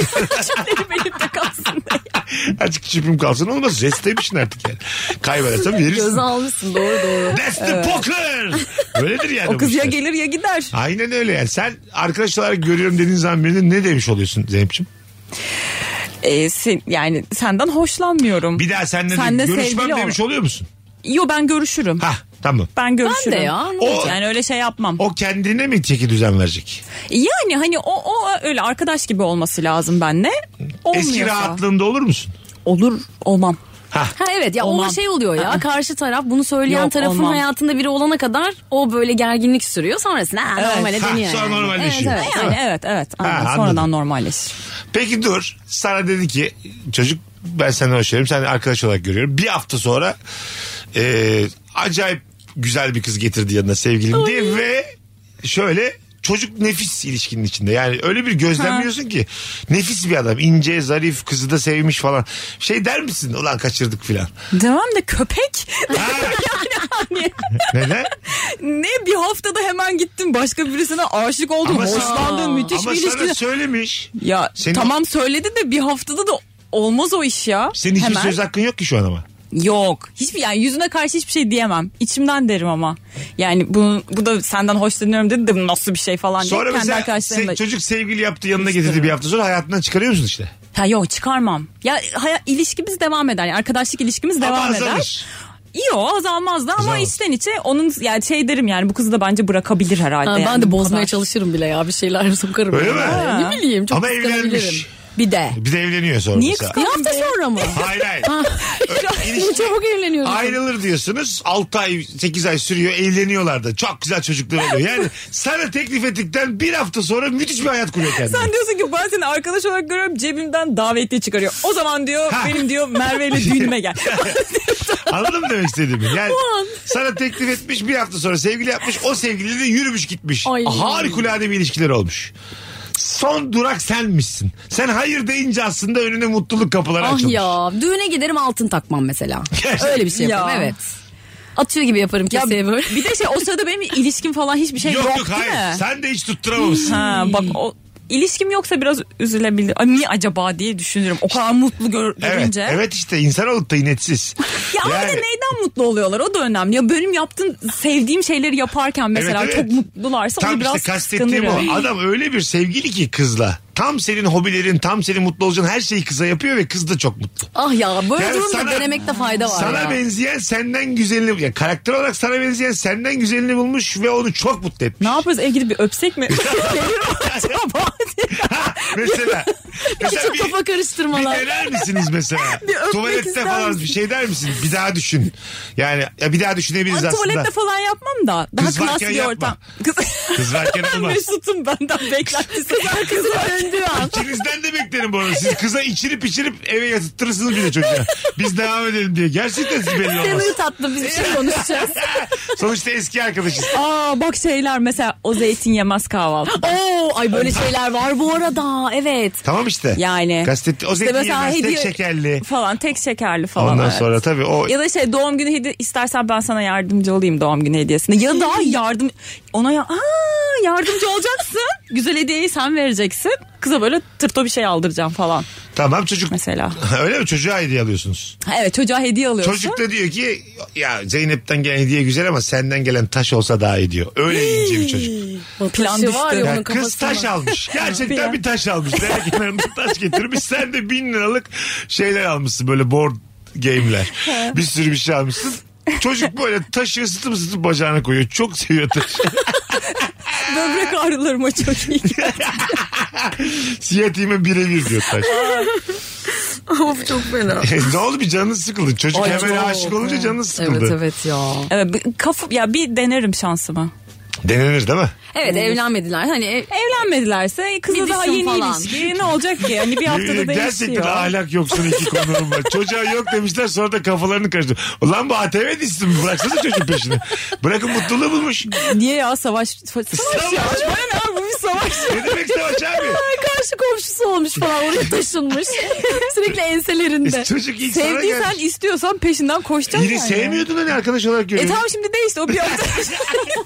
S4: Benim elimde kalsın.
S3: azıcık çipim kalsın olmaz. Rest demişsin artık yani. Kaybedersem verirsin.
S5: Göze almışsın doğru doğru.
S3: That's the poker. Böyledir yani.
S4: O
S3: bu
S4: kız ya
S3: işler.
S4: gelir ya gider.
S3: Aynen öyle yani. Sen arkadaş olarak görüyorum dediğin zaman birine ne demiş oluyorsun Zeynep'ciğim?
S4: Ee, sen- yani senden hoşlanmıyorum.
S3: Bir daha seninle de
S4: Seninle sevgili
S3: görüşmem
S4: ol.
S3: demiş oluyor musun?
S4: Yo ben görüşürüm.
S3: Hah tamam.
S4: Ben görüşürüm.
S5: Ben de ya.
S3: O-
S4: Yani öyle şey yapmam.
S3: O kendine mi çeki düzen verecek?
S4: Yani hani o, o öyle arkadaş gibi olması lazım benle. Olmuyorsa.
S3: Eski rahatlığında olur musun?
S4: Olur olmam.
S5: Ha evet ya
S4: Olmam.
S5: ona şey oluyor ya karşı taraf bunu söyleyen
S4: Yok,
S5: tarafın
S4: olmam.
S5: hayatında biri olana kadar o böyle gerginlik sürüyor sonrasında ha,
S4: Evet.
S5: normale
S3: Ha,
S5: dönüyor.
S3: sonra
S5: yani.
S3: normalleşiyor.
S5: Evet, evet.
S4: Yani evet evet. Aynen.
S3: anladım.
S4: Sonradan normalleşir.
S3: Peki dur. Sana dedi ki çocuk ben senden hoşlanıyorum. Sen arkadaş olarak görüyorum. Bir hafta sonra e, acayip güzel bir kız getirdi yanına sevgilim diye ve şöyle çocuk nefis ilişkinin içinde. Yani öyle bir gözlemliyorsun ki nefis bir adam. ince, zarif, kızı da sevmiş falan. Şey der misin? Ulan kaçırdık filan.
S4: Demem de köpek.
S3: Ha,
S4: Hani
S3: Neden?
S4: ne bir haftada hemen gittim başka birisine aşık oldum.
S3: Ama sana-
S4: hoşlandım müthiş
S3: Ama
S4: bir
S3: sana
S4: ilişki.
S3: söylemiş.
S4: Ya
S3: Senin-
S4: tamam söyledi de bir haftada da olmaz o iş ya.
S3: Senin hiçbir
S4: Hemen.
S3: söz hakkın yok ki şu an ama.
S4: Yok. Hiçbir yani yüzüne karşı hiçbir şey diyemem. İçimden derim ama. Yani bu, bu da senden hoşlanıyorum dedi de bu nasıl bir şey falan
S3: Sonra
S4: diye kendi
S3: mesela
S4: arkadaşlarımla.
S3: se- çocuk sevgili yaptı yanına getirdi bir hafta sonra hayatından çıkarıyor musun işte?
S4: Ha yok çıkarmam. Ya haya, ilişkimiz devam eder. Yani arkadaşlık ilişkimiz devam
S3: Ama
S4: eder.
S3: azalır.
S4: Yok azalmaz da ama
S3: Azalmaz.
S4: içten içe onun yani şey derim yani bu kızı da bence bırakabilir herhalde.
S5: Ha,
S4: yani
S5: ben de
S4: bu
S5: bozmaya
S4: kadar.
S5: çalışırım bile ya bir şeyler sokarım.
S3: Öyle
S5: yani.
S3: mi?
S5: Ha. Ne bileyim çok
S3: Ama
S5: kıskanabilirim.
S3: evlenmiş.
S5: Bir de.
S3: Bir de evleniyor sonra
S4: Niye
S3: mesela.
S5: Bir
S4: Tabii
S5: hafta
S4: be.
S5: sonra mı?
S3: Hayır hayır.
S5: Ne çabuk evleniyoruz.
S3: Ayrılır diyorsunuz. 6 ay 8 ay sürüyor evleniyorlar da. Çok güzel çocuklar oluyor. Yani sana teklif ettikten bir hafta sonra müthiş bir hayat kuruyor kendine.
S4: Sen diyorsun ki ben seni arkadaş olarak görüyorum cebimden davetiye çıkarıyor. O zaman diyor
S3: Ha.
S4: benim diyor Merve ile düğünüme gel.
S3: Anladın mı demek istediğimi? Yani sana teklif etmiş bir hafta sonra sevgili yapmış. O sevgili de yürümüş gitmiş.
S5: Ay.
S3: Harikulade bir ilişkiler olmuş. Son durak senmişsin. Sen hayır deyince aslında önüne mutluluk kapıları
S5: Ah
S3: açılmış.
S5: ya düğüne giderim altın takmam mesela. Öyle bir şey yaparım
S4: Ya.
S5: evet. Atıyor gibi yaparım
S4: Ya
S5: keseye böyle.
S4: bir de şey o sırada benim ilişkim falan hiçbir şey
S3: yok yok,
S4: değil
S3: hayır.
S4: mi?
S3: Sen de hiç tutturamamışsın.
S4: Ha bak o ilişkim yoksa biraz üzülebilirim. Ay, niye acaba diye düşünürüm. O kadar mutlu gör,
S3: Evet,
S4: görünce.
S3: evet işte insan olup da inetsiz.
S4: Ya ama
S3: Yani-
S4: bir de neyden mutlu oluyorlar o da önemli. Ya benim yaptığım sevdiğim şeyleri yaparken mesela
S3: Evet, evet.
S4: çok mutlularsa
S3: Tam
S4: onu biraz
S3: işte kastettiğim
S4: kıskanırım.
S3: o. Adam öyle bir sevgili ki kızla. Tam senin hobilerin, tam senin mutlu olacağın her şeyi kıza yapıyor ve kız da çok mutlu.
S5: Ah ya böyle
S3: Yani
S5: durumda
S3: sana-
S5: denemekte fayda var
S3: Sana
S5: ya.
S3: benzeyen senden güzelini ya karakter olarak sana benzeyen senden güzelini bulmuş ve onu çok mutlu etmiş.
S4: Ne yaparız ev gidip bir öpsek mi? Gelir o acaba diye.
S3: mesela. mesela
S5: Çok
S3: bir-
S5: kafa
S3: bir
S5: karıştırmalar.
S3: dener misiniz mesela?
S4: öpmek
S3: Tuvalette
S4: ister
S3: falan
S4: misin?
S3: bir şey der misin? Bir daha düşün. Yani ya bir daha düşünebiliriz
S4: Ben
S3: aslında.
S4: tuvalette falan yapmam da. Daha
S3: Kız
S4: klas
S3: varken
S4: bir
S3: yapma.
S4: ortam. Kız,
S3: Kız varken olmaz.
S4: Mesut'um benden beklentisi. var. Kızı döndüğü an.
S3: İkinizden de beklerim bu arada. Siz kıza içirip içirip eve yatırtırsınız bile çocuğa. Biz devam edelim diye. Gerçekten siz belli olmaz.
S5: Sen uyu tatlı biz bir şey konuşacağız.
S3: Sonuçta eski arkadaşız.
S4: Aa bak şeyler mesela o zeytin yemez kahvaltı.
S5: Oo, ay böyle şeyler var bu arada. Evet.
S3: Tamam işte.
S4: Yani.
S3: Kastetti. O
S4: İşte
S3: zeytin
S4: mesela
S3: yemez, tek
S4: hediye-
S3: şekerli.
S4: Falan tek şekerli falan.
S3: Ondan
S4: evet.
S3: sonra tabii o...
S4: Ya da şey doğum günü hediye istersen ben sana yardımcı olayım doğum günü hediyesinde. Ya da yardım ona ya Aa, yardımcı olacaksın. Güzel hediyeyi sen vereceksin. Kıza böyle tırto bir şey aldıracağım falan
S3: Tamam çocuk...
S4: mesela.
S3: Öyle mi? Çocuğa hediye alıyorsunuz.
S4: Ha, Evet çocuğa hediye alıyorsun.
S3: Çocuk da diyor ki ya Zeynep'ten gelen hediye güzel ama senden gelen taş olsa daha iyi diyor. Öyle ince bir çocuk.
S4: Plan
S5: Taşı
S4: düştü.
S5: var ya
S3: Yani
S5: onun
S3: kız
S5: kafasına.
S3: taş almış. Gerçekten
S4: Plan.
S3: bir taş almış. Demek yanında taş getirmiş. Sen de bin liralık şeyler almışsın böyle board game'ler. bir sürü bir şey almışsın. Çocuk böyle taşı ısıtıp ısıtıp bacağına koyuyor. Çok seviyor taşı.
S4: Böbrek ağrılarıma çok iyi geldi.
S3: Siyatiğime birebir diyor taş. E,
S5: of çok fena.
S3: ne oldu bir canınız sıkıldı. Çocuk
S5: Ay,
S3: hemen
S5: çok,
S3: aşık olunca canınız sıkıldı.
S5: Evet evet ya.
S4: Evet, bir- kafa, ya bir denerim şansımı.
S3: Denenir değil mi?
S5: Evet evlenmediler. Hani ev-
S4: Evlenmedilerse kızla
S5: Bir
S4: daha
S5: düşün
S4: yeni
S5: falan.
S4: ilişki ne olacak ki? Hani bir haftada
S3: Yemin
S4: değişiyor.
S3: ederim E, Gerçekten ahlak yoksun iki konuğum var. Çocuğa yok demişler sonra da kafalarını karıştı. Ulan bu ATV dizisi mi? Bıraksana çocuğun peşini. Bırakın mutluluğu bulmuş.
S4: Niye ya savaş? Savaş, ya.
S3: Savaş.
S4: Ben abi bu bir savaş.
S3: Ne demek savaş abi?
S5: karşı komşusu olmuş falan oraya taşınmış. Sürekli enselerinde.
S3: Çocuk ilk sana
S4: Sevdiysen
S3: gelmiş.
S4: istiyorsan peşinden koşacaksın.
S3: Yine
S4: yani.
S3: sevmiyordun hani arkadaş olarak
S4: E
S3: görüyordun.
S4: tamam şimdi değişti o bir hafta.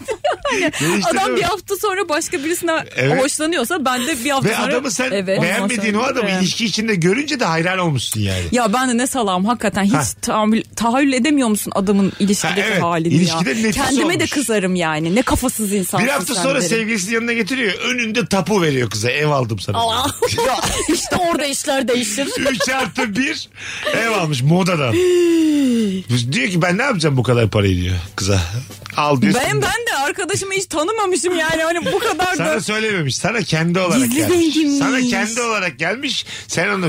S3: Değişti değil
S4: Adam
S3: mi?
S4: bir hafta sonra başka birisine
S3: Evet.
S4: hoşlanıyorsa ben de bir hafta
S3: Ve
S4: sonra...
S3: adamı sen
S4: Evet.
S3: beğenmediğin o
S4: Ondan sonra-
S3: adamı ilişki içinde görünce de hayran olmuşsun yani.
S4: Ya ben de ne salam hakikaten hiç tahammül, tahayyül edemiyor musun adamın ilişkideki
S3: Ha, evet.
S4: halini
S3: İlişkide
S4: ya.
S3: nefis
S4: Kendime de
S3: olmuş.
S4: kızarım yani. Ne kafasız insansın
S3: Bir hafta
S4: sen
S3: sonra
S4: derim.
S3: sevgilisini yanına getiriyor. Önünde tapu veriyor kıza. Ev aldım sana.
S5: işte orada işler değişir.
S3: 3 artı 1 ev almış modadan. diyor ki ben ne yapacağım bu kadar parayı diyor kıza. Al diyor.
S4: Ben ben de arkadaşımı hiç tanımamışım yani hani bu kadar da
S3: Sana söylememiş. Sana kendi olarak
S4: Gizli
S3: gelmiş.
S4: zenginmiş.
S3: Sana kendi olarak gelmiş. Sen onu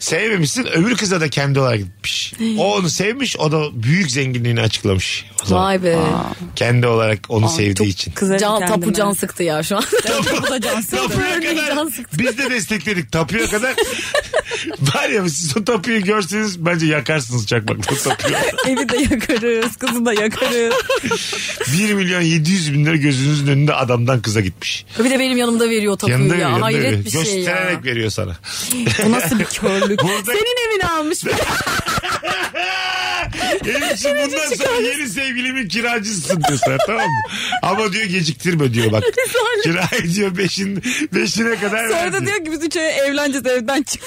S3: sevmemişsin. Öbür kıza da kendi olarak gitmiş. O onu sevmiş. O da büyük zenginliğini açıklamış. O zaman.
S5: Vay be.
S3: Kendi olarak onu sevdiği için.
S4: kızarım
S5: Can
S4: kendime.
S5: tapu can sıktı ya şu an.
S4: Bu da can sıktı.
S3: Tapuya kadar
S5: can sıktı.
S3: biz de destekledik. Tapuya kadar var ya siz o tapuyu görseniz bence yakarsınız çakmakla o tapuyu.
S4: Evi de yakarız, kızı da yakarız.
S3: 1 milyon 700 bin lira gözünüzün önünde adamdan kıza gitmiş.
S5: bir de benim yanımda veriyor tapuyu
S3: Yanında
S5: ya.
S3: veriyor. yanında
S5: Hayret
S3: veriyor.
S5: bir şey
S3: Göstererek
S5: ya.
S3: veriyor sana.
S5: Bu nasıl bir körlük?
S3: Burada-
S5: Senin evini almış.
S3: Benim için bundan sonra yeni sevgilimin kiracısısın diyor sana tamam mı? Ama diyor geciktirme diyor bak. Kirayı diyor beşin, beşine kadar ver
S4: Sonra da
S3: diyor.
S4: diyor ki biz üç ay evleneceğiz evden çık.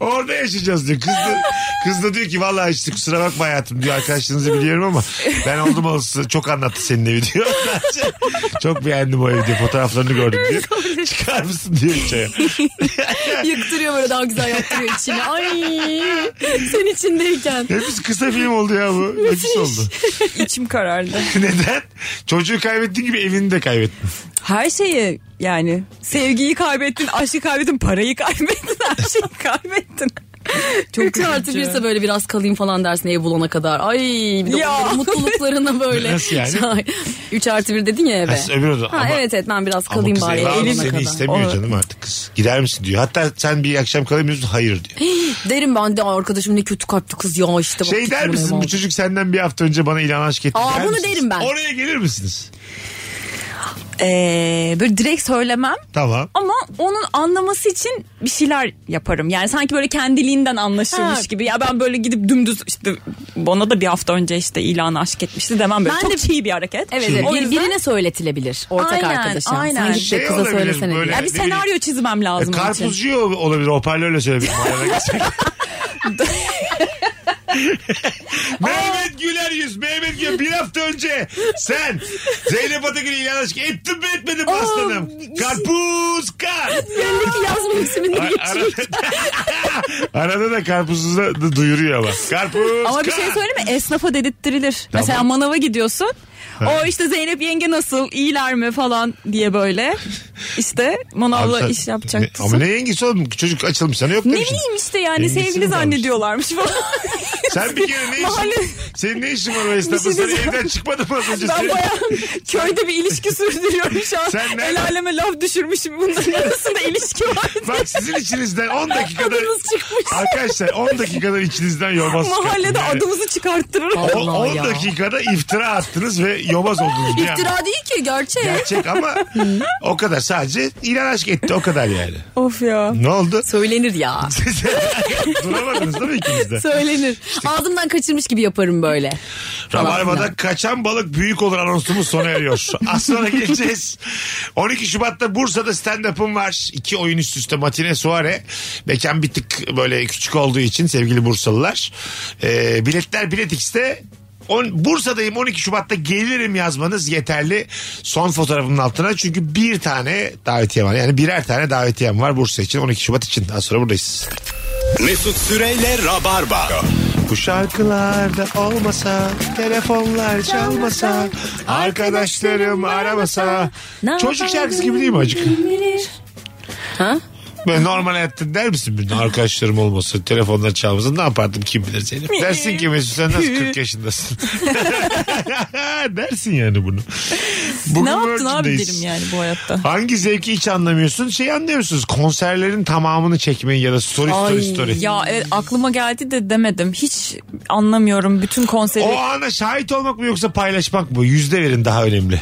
S3: Orada yaşayacağız diyor. Kız da, kız da diyor ki vallahi işte kusura bakma hayatım diyor. Arkadaşlarınızı biliyorum ama ben oldum olası çok anlattı senin evi diyor. çok beğendim o evi diyor. Fotoğraflarını gördüm diyor. Çıkar mısın diyor çaya.
S5: Yıktırıyor böyle daha güzel yaptırıyor içini. Ay sen içindeyken.
S3: Hepsi kısa film oldu ya bu. Nefis oldu.
S4: İçim karardı.
S3: Neden? Çocuğu kaybettiğin gibi evini de kaybettin.
S4: Her şeyi yani sevgiyi kaybettin, aşkı kaybettin, parayı kaybettin, her şeyi kaybettin. Çok
S5: Üç artı
S4: üzücü.
S5: birse böyle biraz kalayım falan dersin ev bulana kadar. Ay bir de
S4: Ya.
S5: onların mutluluklarına böyle.
S3: Nasıl yani?
S5: Üç artı bir dedin ya eve.
S3: Ha, öbür oda.
S5: Ha,
S3: Ama-
S5: evet evet ben biraz
S3: Ama
S5: kalayım
S3: kız
S5: bari.
S3: eve
S5: ev
S3: aldı
S5: bulana
S3: seni
S5: kadar.
S3: istemiyor canım artık kız. Gider misin diyor. Hatta sen bir akşam kalamıyorsun hayır diyor.
S5: Derim ben de "Ay, arkadaşım ne kötü kalpli kız ya işte. bak,
S3: Şey
S5: kötü
S3: der
S5: bir
S3: misin
S5: adam."
S3: bu çocuk senden bir hafta önce bana ilan aşk etti.
S5: Aa,
S3: der
S5: bunu
S3: misiniz?
S5: derim ben.
S3: Oraya gelir misiniz?
S4: Ee, böyle direkt söylemem
S3: Tamam.
S4: ama onun anlaması için bir şeyler yaparım. Yani sanki böyle kendiliğinden anlaşılmış
S5: Ha.
S4: gibi. Ya ben böyle gidip dümdüz işte bana da bir hafta önce işte ilanı aşk etmişti demem böyle.
S5: Ben
S4: çok
S5: de-
S4: çiğ bir hareket.
S5: Evet, evet.
S4: O
S5: Bir-
S4: yüzden-
S5: birine söyletilebilir ortak
S4: Aynen,
S5: arkadaşa.
S4: aynen.
S5: Sen git de
S3: Şey
S5: kıza
S3: olabilir
S5: söylesene
S3: böyle-
S5: diye.
S4: Ya bir
S3: Ne bileyim.
S4: senaryo çizmem
S3: E,
S4: lazım. onun için.
S3: karpuzcu ol- olabilir hoparlörle söyleyebilir. Arada geçecek. Mehmet Güler yüz. Mehmet Güler bir hafta önce sen Zeynep Atakül'e ilan aşk ettin mi etmedin mi
S5: Aa, şey-
S3: aslanım? Karpuz kar.
S5: Belli ki yaz mevsiminde
S3: Ar-
S5: geçiyor.
S3: arada, arada da karpuzuzu da- da duyuruyor ama. Karpuz
S4: Ama bir
S3: kar.
S4: şey söyleyeyim mi? Esnafa dedirttirilir.
S3: Tamam.
S4: Mesela manava gidiyorsun. O işte Zeynep yenge nasıl iyiler mi falan diye böyle işte
S3: Abi
S4: manavla
S3: sen-
S4: iş
S3: Ne- Ama
S4: yapacaksın.
S3: ne yengesi oğlum? Çocuk açılmış sana yok şey?
S4: Ne
S3: demişsin.
S4: bileyim işte yani
S3: Yengesi mi
S4: sevgili
S3: kalmış?
S4: zannediyorlarmış falan.
S3: Sen bir kere ne
S4: Mahalle-
S3: işin? Senin ne işin var o esnafta?
S4: şey
S3: Sen
S4: diyeceğim.
S3: evden çıkmadın mı az önce?
S4: ben
S3: Senin-
S4: bayağı köyde bir ilişki sürdürüyorum şu an.
S3: Sen nereden-
S4: El aleme laf düşürmüşüm. Bunların arasında ilişki var.
S3: Bak sizin içinizden 10 dakikada...
S4: Adınız çıkmış.
S3: Arkadaşlar 10 dakikada içinizden yobaz çıkarttınız.
S4: Mahallede
S3: Yani
S4: adımızı çıkarttırır.
S5: Allah
S3: o- 10
S5: ya.
S3: dakikada iftira attınız ve yobaz oldunuz. bir anda.
S5: İftira değil ki gerçek.
S3: Gerçek ama o kadar sadece ilan aşk etti o kadar yani.
S4: of ya.
S3: Ne oldu?
S5: Söylenir ya.
S3: Duramadınız değil mi ikiniz de?
S5: Söylenir. Ağzımdan kaçırmış gibi yaparım böyle.
S3: Rabarba'da kaçan balık büyük olur anonsumuz sona eriyor. Az sonra geleceğiz. 12 Şubat'ta Bursa'da stand-up'ım var. İki oyun üst üste matine suare. Mekan bir tık böyle küçük olduğu için sevgili Bursalılar. Ee, biletler Bilet X'te. On, Bursa'dayım 12 Şubat'ta gelirim yazmanız yeterli son fotoğrafımın altına. Çünkü bir tane davetiye var. Yani birer tane davetiyem var Bursa için 12 Şubat için. Az sonra buradayız.
S2: Mesut Süreyle Rabarba.
S3: Bu şarkılarda olmasa, telefonlar çalmasa, arkadaşlarım aramasa.
S5: Ne
S3: Çocuk şarkısı gibi değil mi acık? Böyle normal hayatta der misin birine arkadaşlarım olmasa, telefonlar çalmasa ne yapardım kim bilir Zeynep? Dersin ki Mesut sen nasıl 40 yaşındasın? Dersin yani bunu. Bugün
S4: ne yaptın abi
S3: Virgin'deyiz.
S4: derim yani bu hayatta.
S3: Hangi zevki hiç anlamıyorsun? Şey anlıyorsunuz konserlerin tamamını çekmeyi ya da story story story.
S4: Ya evet aklıma geldi de demedim. Hiç anlamıyorum bütün konseri.
S3: O ana şahit olmak mı yoksa paylaşmak mı? Yüzde verin daha önemli.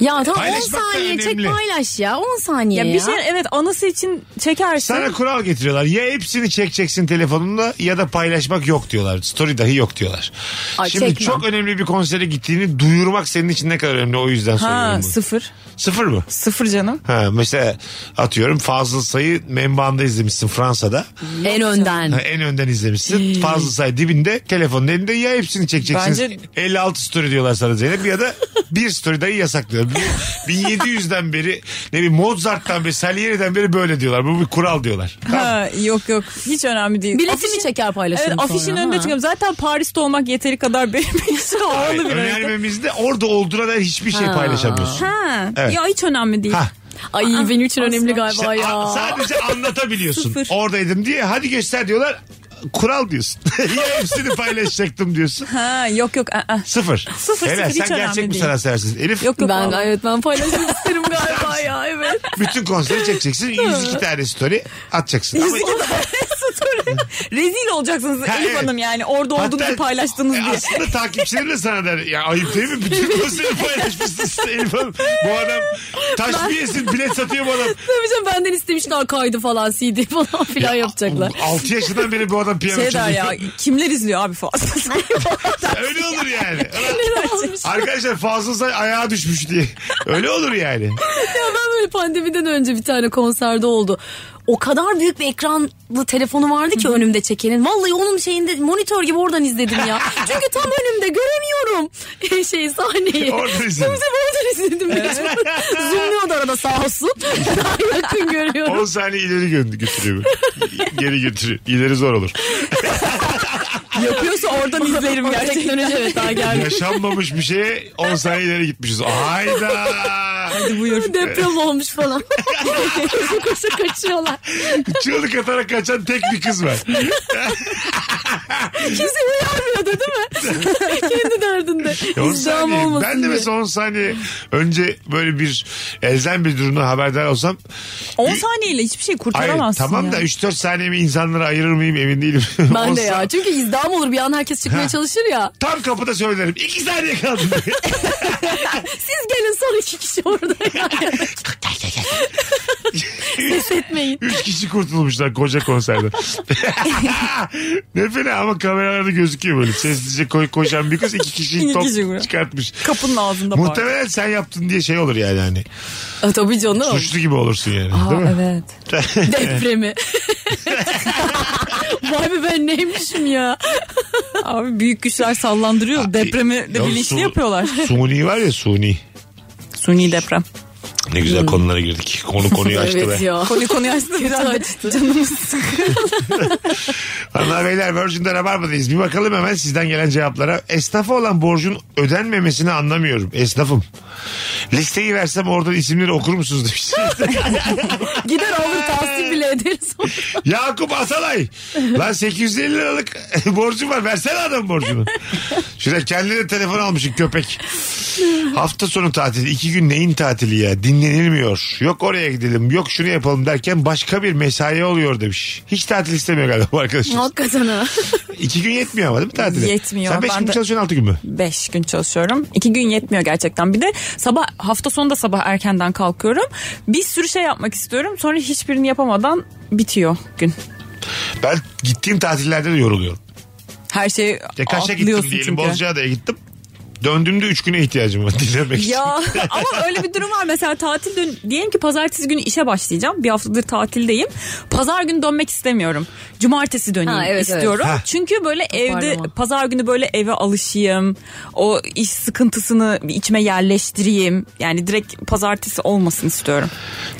S5: Ya tamam 10
S3: Paylaşmak da
S5: saniye çek
S3: önemli.
S5: paylaş ya 10 saniye
S4: ya
S5: ya.
S4: bir şey evet anısı için çekersin.
S3: Sana kural getiriyorlar. Ya hepsini çekeceksin telefonunda ya da paylaşmak yok diyorlar. Story dahi yok diyorlar.
S5: Ay,
S3: Şimdi
S5: çekmem.
S3: çok önemli bir konsere gittiğini duyurmak senin için ne kadar önemli o yüzden soruyorum
S4: Ha
S3: bunu.
S4: sıfır.
S3: Sıfır mı?
S4: Sıfır canım.
S3: Ha, mesela atıyorum Fazıl Say'ı Membanda izlemişsin Fransa'da.
S5: En önden.
S3: Ha, en önden izlemişsin. Fazıl Say dibinde telefonun elinde ya hepsini çekeceksin.
S4: Bence-
S3: 56 story diyorlar sana Zeynep ya da bir story dahi yasaklıyor. Bu 1700'den beri ne bileyim Mozart'tan beri Salieri'den beri böyle diyorlar. Bu bir kural diyorlar.
S4: Ha, yok yok hiç önemli değil.
S5: Biletini
S4: Afişin-
S5: çeker paylaşırım
S4: Evet
S5: sonra,
S4: afişin
S5: ha.
S4: önünde çıkıyorum. Zaten Paris'te olmak yeteri kadar benim için
S3: Hayır,
S4: ağırlı bir hareket.
S3: önermemizde orada olduğuna dair hiçbir şey paylaşamıyorsun.
S4: Ha,
S3: Evet.
S4: Ya hiç önemli değil.
S3: Ha.
S5: Ay
S4: Ah,
S5: benim için önemli galiba
S3: İşte a-
S5: ya.
S3: sadece anlatabiliyorsun.
S4: Sıfır.
S3: Oradaydım diye hadi göster diyorlar. Kural diyorsun. ya hepsini paylaşacaktım diyorsun.
S4: Ha, yok yok. aa, aa.
S3: Sıfır.
S4: Sıfır,
S3: Helal,
S4: sıfır, hiç
S3: Sen gerçek
S4: önemli
S3: mi
S4: değil.
S3: sana sersin? Elif
S4: Yok yok.
S5: ben
S4: vallahi.
S5: evet ben paylaşmak isterim galiba ya evet.
S3: bütün konseri çekeceksin. 102 tane story atacaksın. Ama
S4: Rezil olacaksınız
S3: Ha,
S4: Elif
S3: evet.
S4: Hanım yani orada
S3: Hatta-
S4: olduğunuzu paylaştınız
S3: E,
S4: diye.
S3: Aslında takipçilerim de sana der. Ya ayıp değil mi? Bütün konseri paylaşmışsın size Elif Hanım. Bu adam taş bir yesin bilet satıyor bu adam.
S5: Tabii canım benden istemişler kaydı falan CD falan filan yapacaklar.
S3: 6 yaşından beri bu adam piyano
S4: Şey der
S3: çalıyor.
S4: ya kimler izliyor abi falan.
S3: Öyle olur yani. Arkadaşlar Fazıl Say ayağa düşmüş diye. Öyle olur yani.
S5: Ya ben böyle pandemiden önce bir tane konserde oldu. O kadar büyük bir ekranlı telefonu vardı ki önümde çekenin. Vallahi onun şeyinde monitör gibi oradan izledim ya. Çünkü tam önümde göremiyorum şey sahneyi.
S3: Oradan izledim.
S5: Tabii tabii oradan izledim. Zoomluyordu arada sağ olsun. Daha yakın görüyorum.
S3: 10 saniye ileri gö- götürüyor. böyle. Geri götürüyor. İleri zor olur.
S4: Yapıyorsa oradan izlerim gerçekten.
S5: Teknoloji evet daha geldi.
S3: Yaşanmamış bir şeye 10 saniye ileri gitmişiz. Hayda.
S4: Buyur.
S5: Deprem olmuş falan. Koşa koşa kaçıyorlar.
S3: Çığlık atarak kaçan tek bir kız var.
S5: Kimse uyarmıyordu değil mi? Kendi derdinde.
S3: 10
S5: İzdiham
S3: saniye.
S5: olmasın
S3: Ben de
S5: diye.
S3: mesela 10 saniye önce böyle bir elzem bir durumdan haberdar olsam
S4: 10 saniyeyle hiçbir şey
S3: Hayır,
S4: kurtaramazsın
S3: tamam
S4: ya.
S3: da 3-4 saniyemi insanlara ayırır mıyım emin değilim.
S5: Ben
S3: On
S5: de ya.
S3: sa-
S5: Çünkü izdiham olur bir an herkes çıkmaya
S3: Ha.
S5: çalışır ya.
S3: Tam kapıda söylerim. 2 saniye kaldı.
S5: Siz gelin son iki kişi orada. yani. Ses etmeyin.
S3: Üç kişi kurtulmuşlar koca konserden. ne fena ama kameralarda gözüküyor böyle. Sessizce koy, koşan bir kız iki kişiyi
S4: İki
S3: top
S4: kişi vuruyor.
S3: çıkartmış.
S4: Kapının ağzında bağır.
S3: Muhtemelen sen yaptın diye şey olur yani hani.
S5: E, tabii canım.
S3: Suçlu gibi olursun yani. değil mi?
S4: Evet.
S5: Depremi. Vay be ben neymişim ya.
S4: Abi büyük güçler sallandırıyor. Depremi de
S3: Ya
S4: bilinçli
S3: su-
S4: yapıyorlar.
S3: Suni var ya Suni.
S4: Suni deprem.
S3: Ne güzel konulara girdik. Konu konuyu açtı
S5: evet
S3: be.
S5: ya.
S4: Konuyu konuyu açtı herhalde. Canımız
S3: Hanımlar beyler Virgin'de Rabarba'dayız. Bir bakalım hemen sizden gelen cevaplara. Esnafa olan borcun ödenmemesini anlamıyorum. Esnafım. Listeyi versem oradan isimleri okur musunuz demiş.
S5: Gider alır tahsil bile ederiz.
S3: Yakup Asalay. Lan 850 liralık borcum var. Versene adam borcunu. Şuraya kendine telefon almışsın köpek. Hafta sonu tatili. iki gün neyin tatili ya? Dinlenilmiyor. Yok oraya gidelim. Yok şunu yapalım derken başka bir mesai oluyor demiş. Hiç tatil istemiyor galiba bu arkadaşımız.
S5: Hakikaten ha.
S3: İki gün yetmiyor ama değil mi tatile?
S4: Yetmiyor.
S3: Sen beş
S4: Ben
S3: gün
S4: de-
S3: çalışıyorsun altı gün mü?
S4: 5 gün çalışıyorum. 2 gün yetmiyor gerçekten. Bir de sabah hafta sonu da sabah erkenden kalkıyorum. Bir sürü şey yapmak istiyorum. Sonra hiçbirini yapamadan bitiyor gün.
S3: Ben gittiğim tatillerde de yoruluyorum.
S4: Her şeyi
S3: Ya kaşa gittim
S4: atlıyorsun
S3: diyelim.
S4: çünkü.
S3: Bozcaada'ya gittim. Döndüğümde üç güne ihtiyacım var dinlenmek için.
S4: Ya ama öyle bir durum var mesela tatil dön diyelim ki pazartesi günü işe başlayacağım. Bir haftadır tatildeyim. Pazar günü dönmek istemiyorum. Cumartesi döneyim
S5: Ha, evet,
S4: istiyorum.
S3: evet. Ha.
S4: Çünkü böyle evde
S5: Toparlama.
S4: pazar günü böyle eve alışayım. O iş sıkıntısını içime yerleştireyim. Yani direkt pazartesi olmasın istiyorum.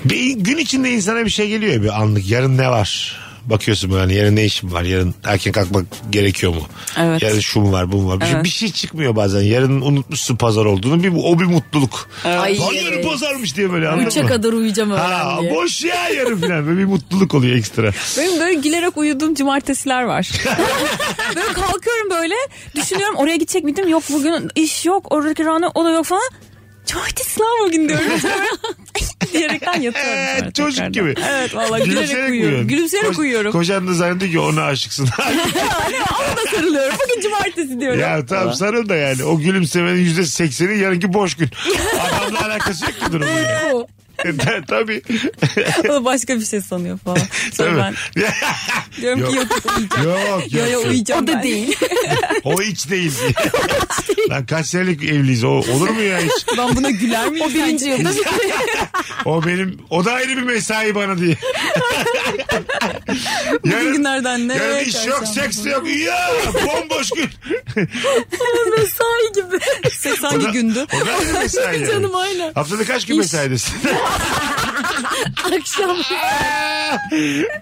S3: Bir gün içinde insana bir şey geliyor ya bir anlık. Yarın ne var? Bakıyorsun böyle hani yarın ne işim var? Yarın erken kalkmak gerekiyor mu?
S5: Evet.
S3: Yarın şu mu var bu mu var? Bir, şey,
S5: Evet.
S3: bir şey çıkmıyor bazen. Yarın unutmuşsun pazar olduğunu. Bir, o bir mutluluk.
S5: Ay.
S3: Lan yarın pazarmış diye böyle anladın
S5: Üçe
S3: mı?
S5: kadar uyuyacağım
S3: Ha,
S5: öğlen diye.
S3: boş ya yarın falan. Böyle bir mutluluk oluyor ekstra.
S4: Benim böyle gülerek uyuduğum cumartesiler var. böyle kalkıyorum böyle düşünüyorum oraya gidecek miydim? Yok bugün iş yok oradaki rana o da yok falan. Cumartesi lan bugün diyorum. Sonra diyerekten yatıyorum. sonra
S3: Evet,
S4: tekrardan.
S3: Ee, çocuk gibi.
S4: Evet vallahi gülerek uyuyorum.
S3: uyuyorsun.
S4: Gülümseyerek
S3: Koc-
S4: uyuyorum.
S3: Kocan da zannediyor ki ona aşıksın.
S4: Ama da sarılıyorum. Bugün cumartesi diyorum.
S3: ya tamam sarıl da yani. O gülümsemenin yüzde sekseni yarınki boş gün. Adamla alakası yok ki durumun ya. E,
S4: Bu.
S3: Tabii.
S4: O da başka bir şey sanıyor falan.
S3: Tabii.
S4: Sonra ben diyorum
S3: Yok.
S4: ki yok uyuyacağım.
S3: yok
S4: Yo, yo,
S3: yok.
S4: uyuyacağım
S5: O da
S4: ben.
S5: değil.
S3: O hiç değil. Lan kaç senelik evliyiz o olur mu ya hiç?
S4: Ben buna güler miyim?
S5: o birinci yılda
S3: O benim o da ayrı bir mesai bana diye.
S4: Bugün günlerden ne?
S3: yarın iş yok seks de yok. Ya bomboş gün.
S4: mesai gibi. Ses
S3: O da-
S4: hangi gündü?
S3: O da ayrı mesai. yani.
S5: Canım aynen.
S3: Haftada kaç gün mesaidesin?
S5: akşam.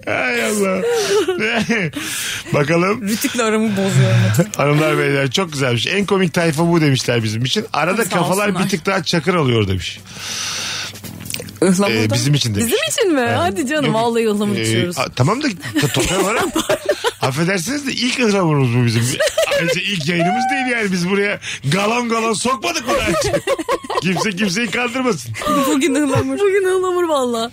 S3: Hay Allah. Bakalım
S4: Rütükle aramı bozuyorum.
S3: hanımlar beyler çok güzelmiş. En komik tayfa bu demişler bizim için. Arada
S4: Sağ
S3: kafalar
S4: olsunlar.
S3: bir tık daha çakır alıyor demiş. Ee,
S4: Ihlamurda.
S3: bizim için demiş.
S5: Bizim için mi? Hadi canım vallahi ıhlamur
S3: Ee,
S5: içiyoruz.
S3: a- tamam da to- toprağa var ama. Affedersiniz de ilk ıhlamurumuz bu bizim. Ayrıca ilk yayınımız değil yani biz buraya galan galan sokmadık mı daha önce? Kimse kimseyi kandırmasın.
S5: Bugün ıhlamur. Bugün ıhlamur valla.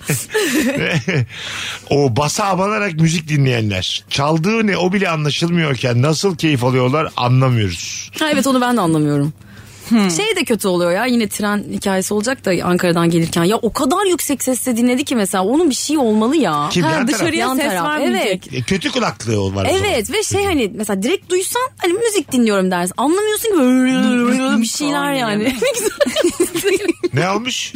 S3: o basa abanarak müzik dinleyenler. Çaldığı ne o bile anlaşılmıyorken nasıl keyif alıyorlar anlamıyoruz.
S5: Ha, evet onu ben de anlamıyorum.
S3: Hmm.
S5: Şey de kötü oluyor ya yine tren hikayesi olacak da Ankara'dan gelirken. Ya o kadar yüksek sesle dinledi ki mesela onun bir şey olmalı ya.
S3: Kim? Yan
S4: Ha,
S3: taraf.
S4: dışarıya
S5: Yan
S4: ses
S5: taraf,
S4: vermeyecek.
S3: E, kötü kulaklığı var. o zaman.
S5: Evet ve şey hani mesela direkt duysan hani müzik dinliyorum dersin. Anlamıyorsun ki böyle bir şeyler yani. Ne güzel.
S3: Ne olmuş?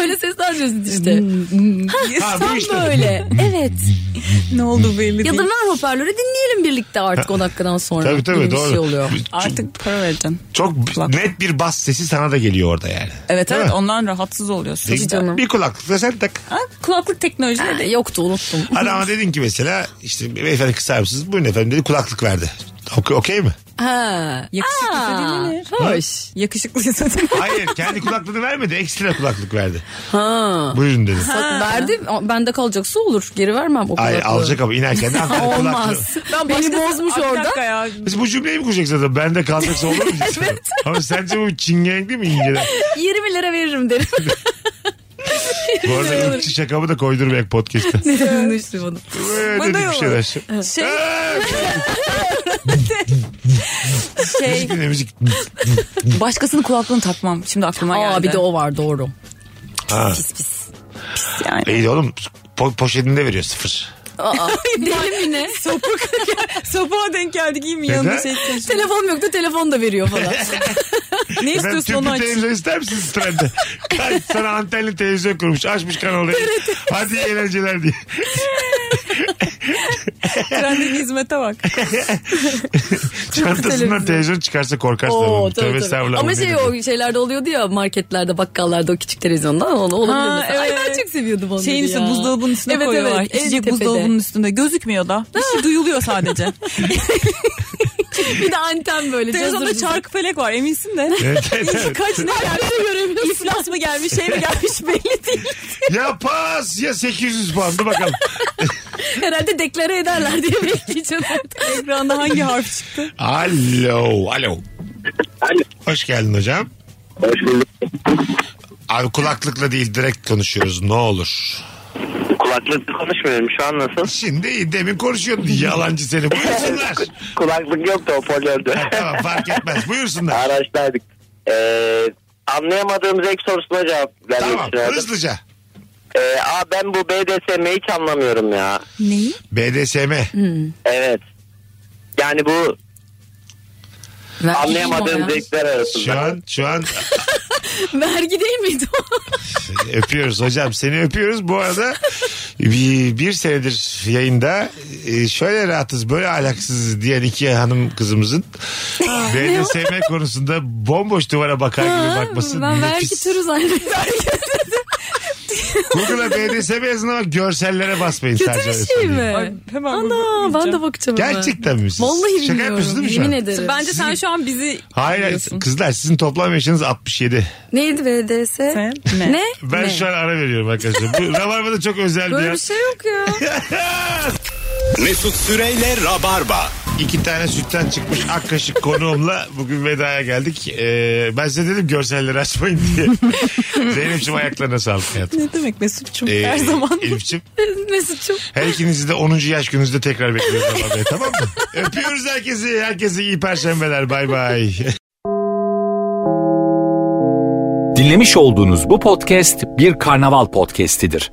S5: Öyle sesler çözün işte.
S3: Ha,
S5: hmm.
S3: Hmm.
S5: Ha,
S3: bu
S5: tam
S3: işte.
S5: böyle. Evet.
S4: Ne oldu belli
S5: Ya da
S4: değil.
S5: ver hoparlörü dinleyelim birlikte artık 10 dakikadan sonra.
S3: Tabii tabii
S5: gibi bir
S3: doğru.
S5: şey oluyor.
S4: Artık para vereceksin.
S3: Çok
S4: Kulak.
S3: net bir bas sesi sana da geliyor orada yani.
S4: Evet
S3: Değil
S4: evet
S3: mi?
S4: ondan rahatsız oluyorsun.
S3: Bir- Bir kulaklıkla sen tak.
S4: Ha, kulaklık teknolojisi
S5: E, Yoktu unuttum.
S3: Adama dedin ki mesela işte beyefendi kısar mısınız? Buyurun efendim dedi kulaklık verdi. Ok- Okey mi?
S5: Ha.
S4: Yakışıklıysa
S5: Aa,
S4: dinlenir.
S5: Hoş.
S4: yakışıklıysa dinlenir.
S3: Hayır kendi kulaklığını vermedi ekstra kulaklık verdi.
S5: Ha.
S3: Buyurun dedi.
S5: Bak verdi bende kalacaksa olur. Geri vermem o
S3: Ay
S5: kulaklığı.
S3: alacak ama inerken de hakikaten kulaklığı.
S5: Olmaz. Beni bozmuş
S4: Ay, bir
S5: orada.
S4: dakika ya.
S3: Biz bu cümleyi mi kuracak zaten? Bende kalacaksa olur mu? evet. Ama sence bu çingenlik değil mi İngilizce?
S5: 20 lira veririm derim.
S3: Bu arada ırkçı şakamı da koydurmayak podcast'ta.
S5: Ne dedim düştüm onu.
S3: Ee,
S4: Bu
S3: dedik
S4: da
S3: bir
S4: yok.
S3: şeyler.
S4: Şey,
S3: Ee,
S4: şey,
S5: Şey.
S3: müzik dinle müzik.
S4: başkasının kulaklığını takmam. Şimdi aklıma geldi.
S5: Aa bir de o var doğru.
S3: Ha.
S5: Pis pis.
S4: Yani.
S3: İyi de oğlum po- poşetinde veriyor sıfır.
S5: Aa, deli mi ne?
S4: Sabaha denk geldi giyim
S3: Neden?
S4: yanında şey çalışıyor.
S5: telefon yoktu telefon da veriyor falan.
S4: Ne
S3: Efendim
S4: istiyorsun
S3: tüplü
S4: onu aç.
S3: televizyon ister misiniz trende? Kaç sana antenli televizyon kurmuş. Açmış kanalları. Hadi iyi eğlenceler diye.
S4: Trendeki hizmete bak.
S3: Çantasından
S5: televizyon.
S3: televizyon çıkarsa korkarsın.
S5: Oo,
S3: oğlum.
S5: tabii,
S3: Tövbe
S5: tabii.
S3: estağfurullah.
S5: Ama
S3: Bu
S5: şey
S3: nedir?
S5: o şeylerde oluyordu ya marketlerde bakkallarda o küçük televizyonda onu olabilir
S4: Ha,
S5: mesela. Ay
S4: evet.
S5: ben çok seviyordum onları
S4: Şeyin
S5: ya.
S4: üstüne buzdolabının üstüne
S5: Evet,
S4: koyuyorlar.
S5: evet, en
S4: İçecek
S5: tepede.
S4: buzdolabının üstünde. Gözükmüyor da. Bir şey duyuluyor sadece.
S5: Bir de anten böyle.
S4: Televizyonda
S5: cazır cazır.
S4: çark felek var eminsin de.
S3: Evet, evet,
S4: İyi,
S3: evet.
S4: Kaç ne gelmiş? İflas mı gelmiş? Şey mi gelmiş? Belli değil.
S3: ya pas ya 800 puan. Dur bakalım.
S5: Herhalde deklare ederler diye bekleyeceğim artık.
S4: Ekranda hangi harf çıktı?
S3: Alo. Alo. Hoş geldin hocam.
S8: Hoş bulduk.
S3: Abi kulaklıkla değil direkt konuşuyoruz ne olur.
S6: Kulaklıkla konuşmuyorum şu an nasıl?
S3: Şimdi iyi, demin konuşuyordun yalancı seni. Buyursunlar.
S8: Kulaklık yok da hoparlördü.
S3: Ha, tamam fark etmez buyursunlar.
S8: Araçtaydık. Ee, anlayamadığımız ek sorusuna cevap vermek
S3: Tamam
S8: istiyordum.
S3: hızlıca.
S8: Ee, aa, ben bu BDSM'yi hiç anlamıyorum ya.
S4: Neyi?
S3: BDSM.
S8: Evet. Yani bu
S5: Vergi
S8: anlayamadığım
S5: değil mi
S8: zevkler arasında.
S3: Şu an şu an
S5: o ya? Vergi değil miydi o?
S3: öpüyoruz hocam seni öpüyoruz. Bu arada bir, bir senedir yayında e, şöyle rahatız böyle alaksız diyen iki hanım kızımızın BDSM konusunda bomboş duvara bakar gibi bakması
S5: ben
S3: nefis.
S5: vergi türü zannediyorum.
S3: Google'a BDSM yazına bak görsellere basmayın.
S5: Kötü
S3: sadece öyle
S5: bir şey
S3: söyleyeyim.
S5: mi?
S4: Hemen
S5: Ana ben de bakacağım. hemen.
S3: Gerçekten mi? Siz
S5: Vallahi bilmiyorum.
S3: Şaka yapıyorsunuz değil mi şu an?
S5: Yemin ederim.
S4: Bence sen şu an bizi
S3: Hayır hayır.
S4: biliyorsun.
S3: kızlar sizin toplam yaşınız 67.
S5: Neydi BDS?
S4: Sen ne?
S5: Ne? ne?
S3: Ben şu an ara veriyorum arkadaşlar. Bu Rabarba'da çok özel bir
S5: Böyle
S3: yer.
S5: bir şey yok ya.
S2: Mesut Süreyle Rabarba.
S3: İki tane sütten çıkmış ak kaşık konuğumla bugün vedaya geldik. Ee, ben size dedim görselleri açmayın diye. Zeynep'ciğim ayaklarına sağlık hayatım.
S4: Ne demek Mesut'cum
S3: Ee,
S4: her zaman.
S3: Elif'ciğim
S5: Mesut'cum.
S3: her ikinizi de 10. yaş gününüzde tekrar bekliyoruz Rabarba'ya tamam mı? Öpüyoruz herkesi. Herkese iyi perşembeler. Bay bay.
S1: Dinlemiş olduğunuz bu podcast bir karnaval podcastidir.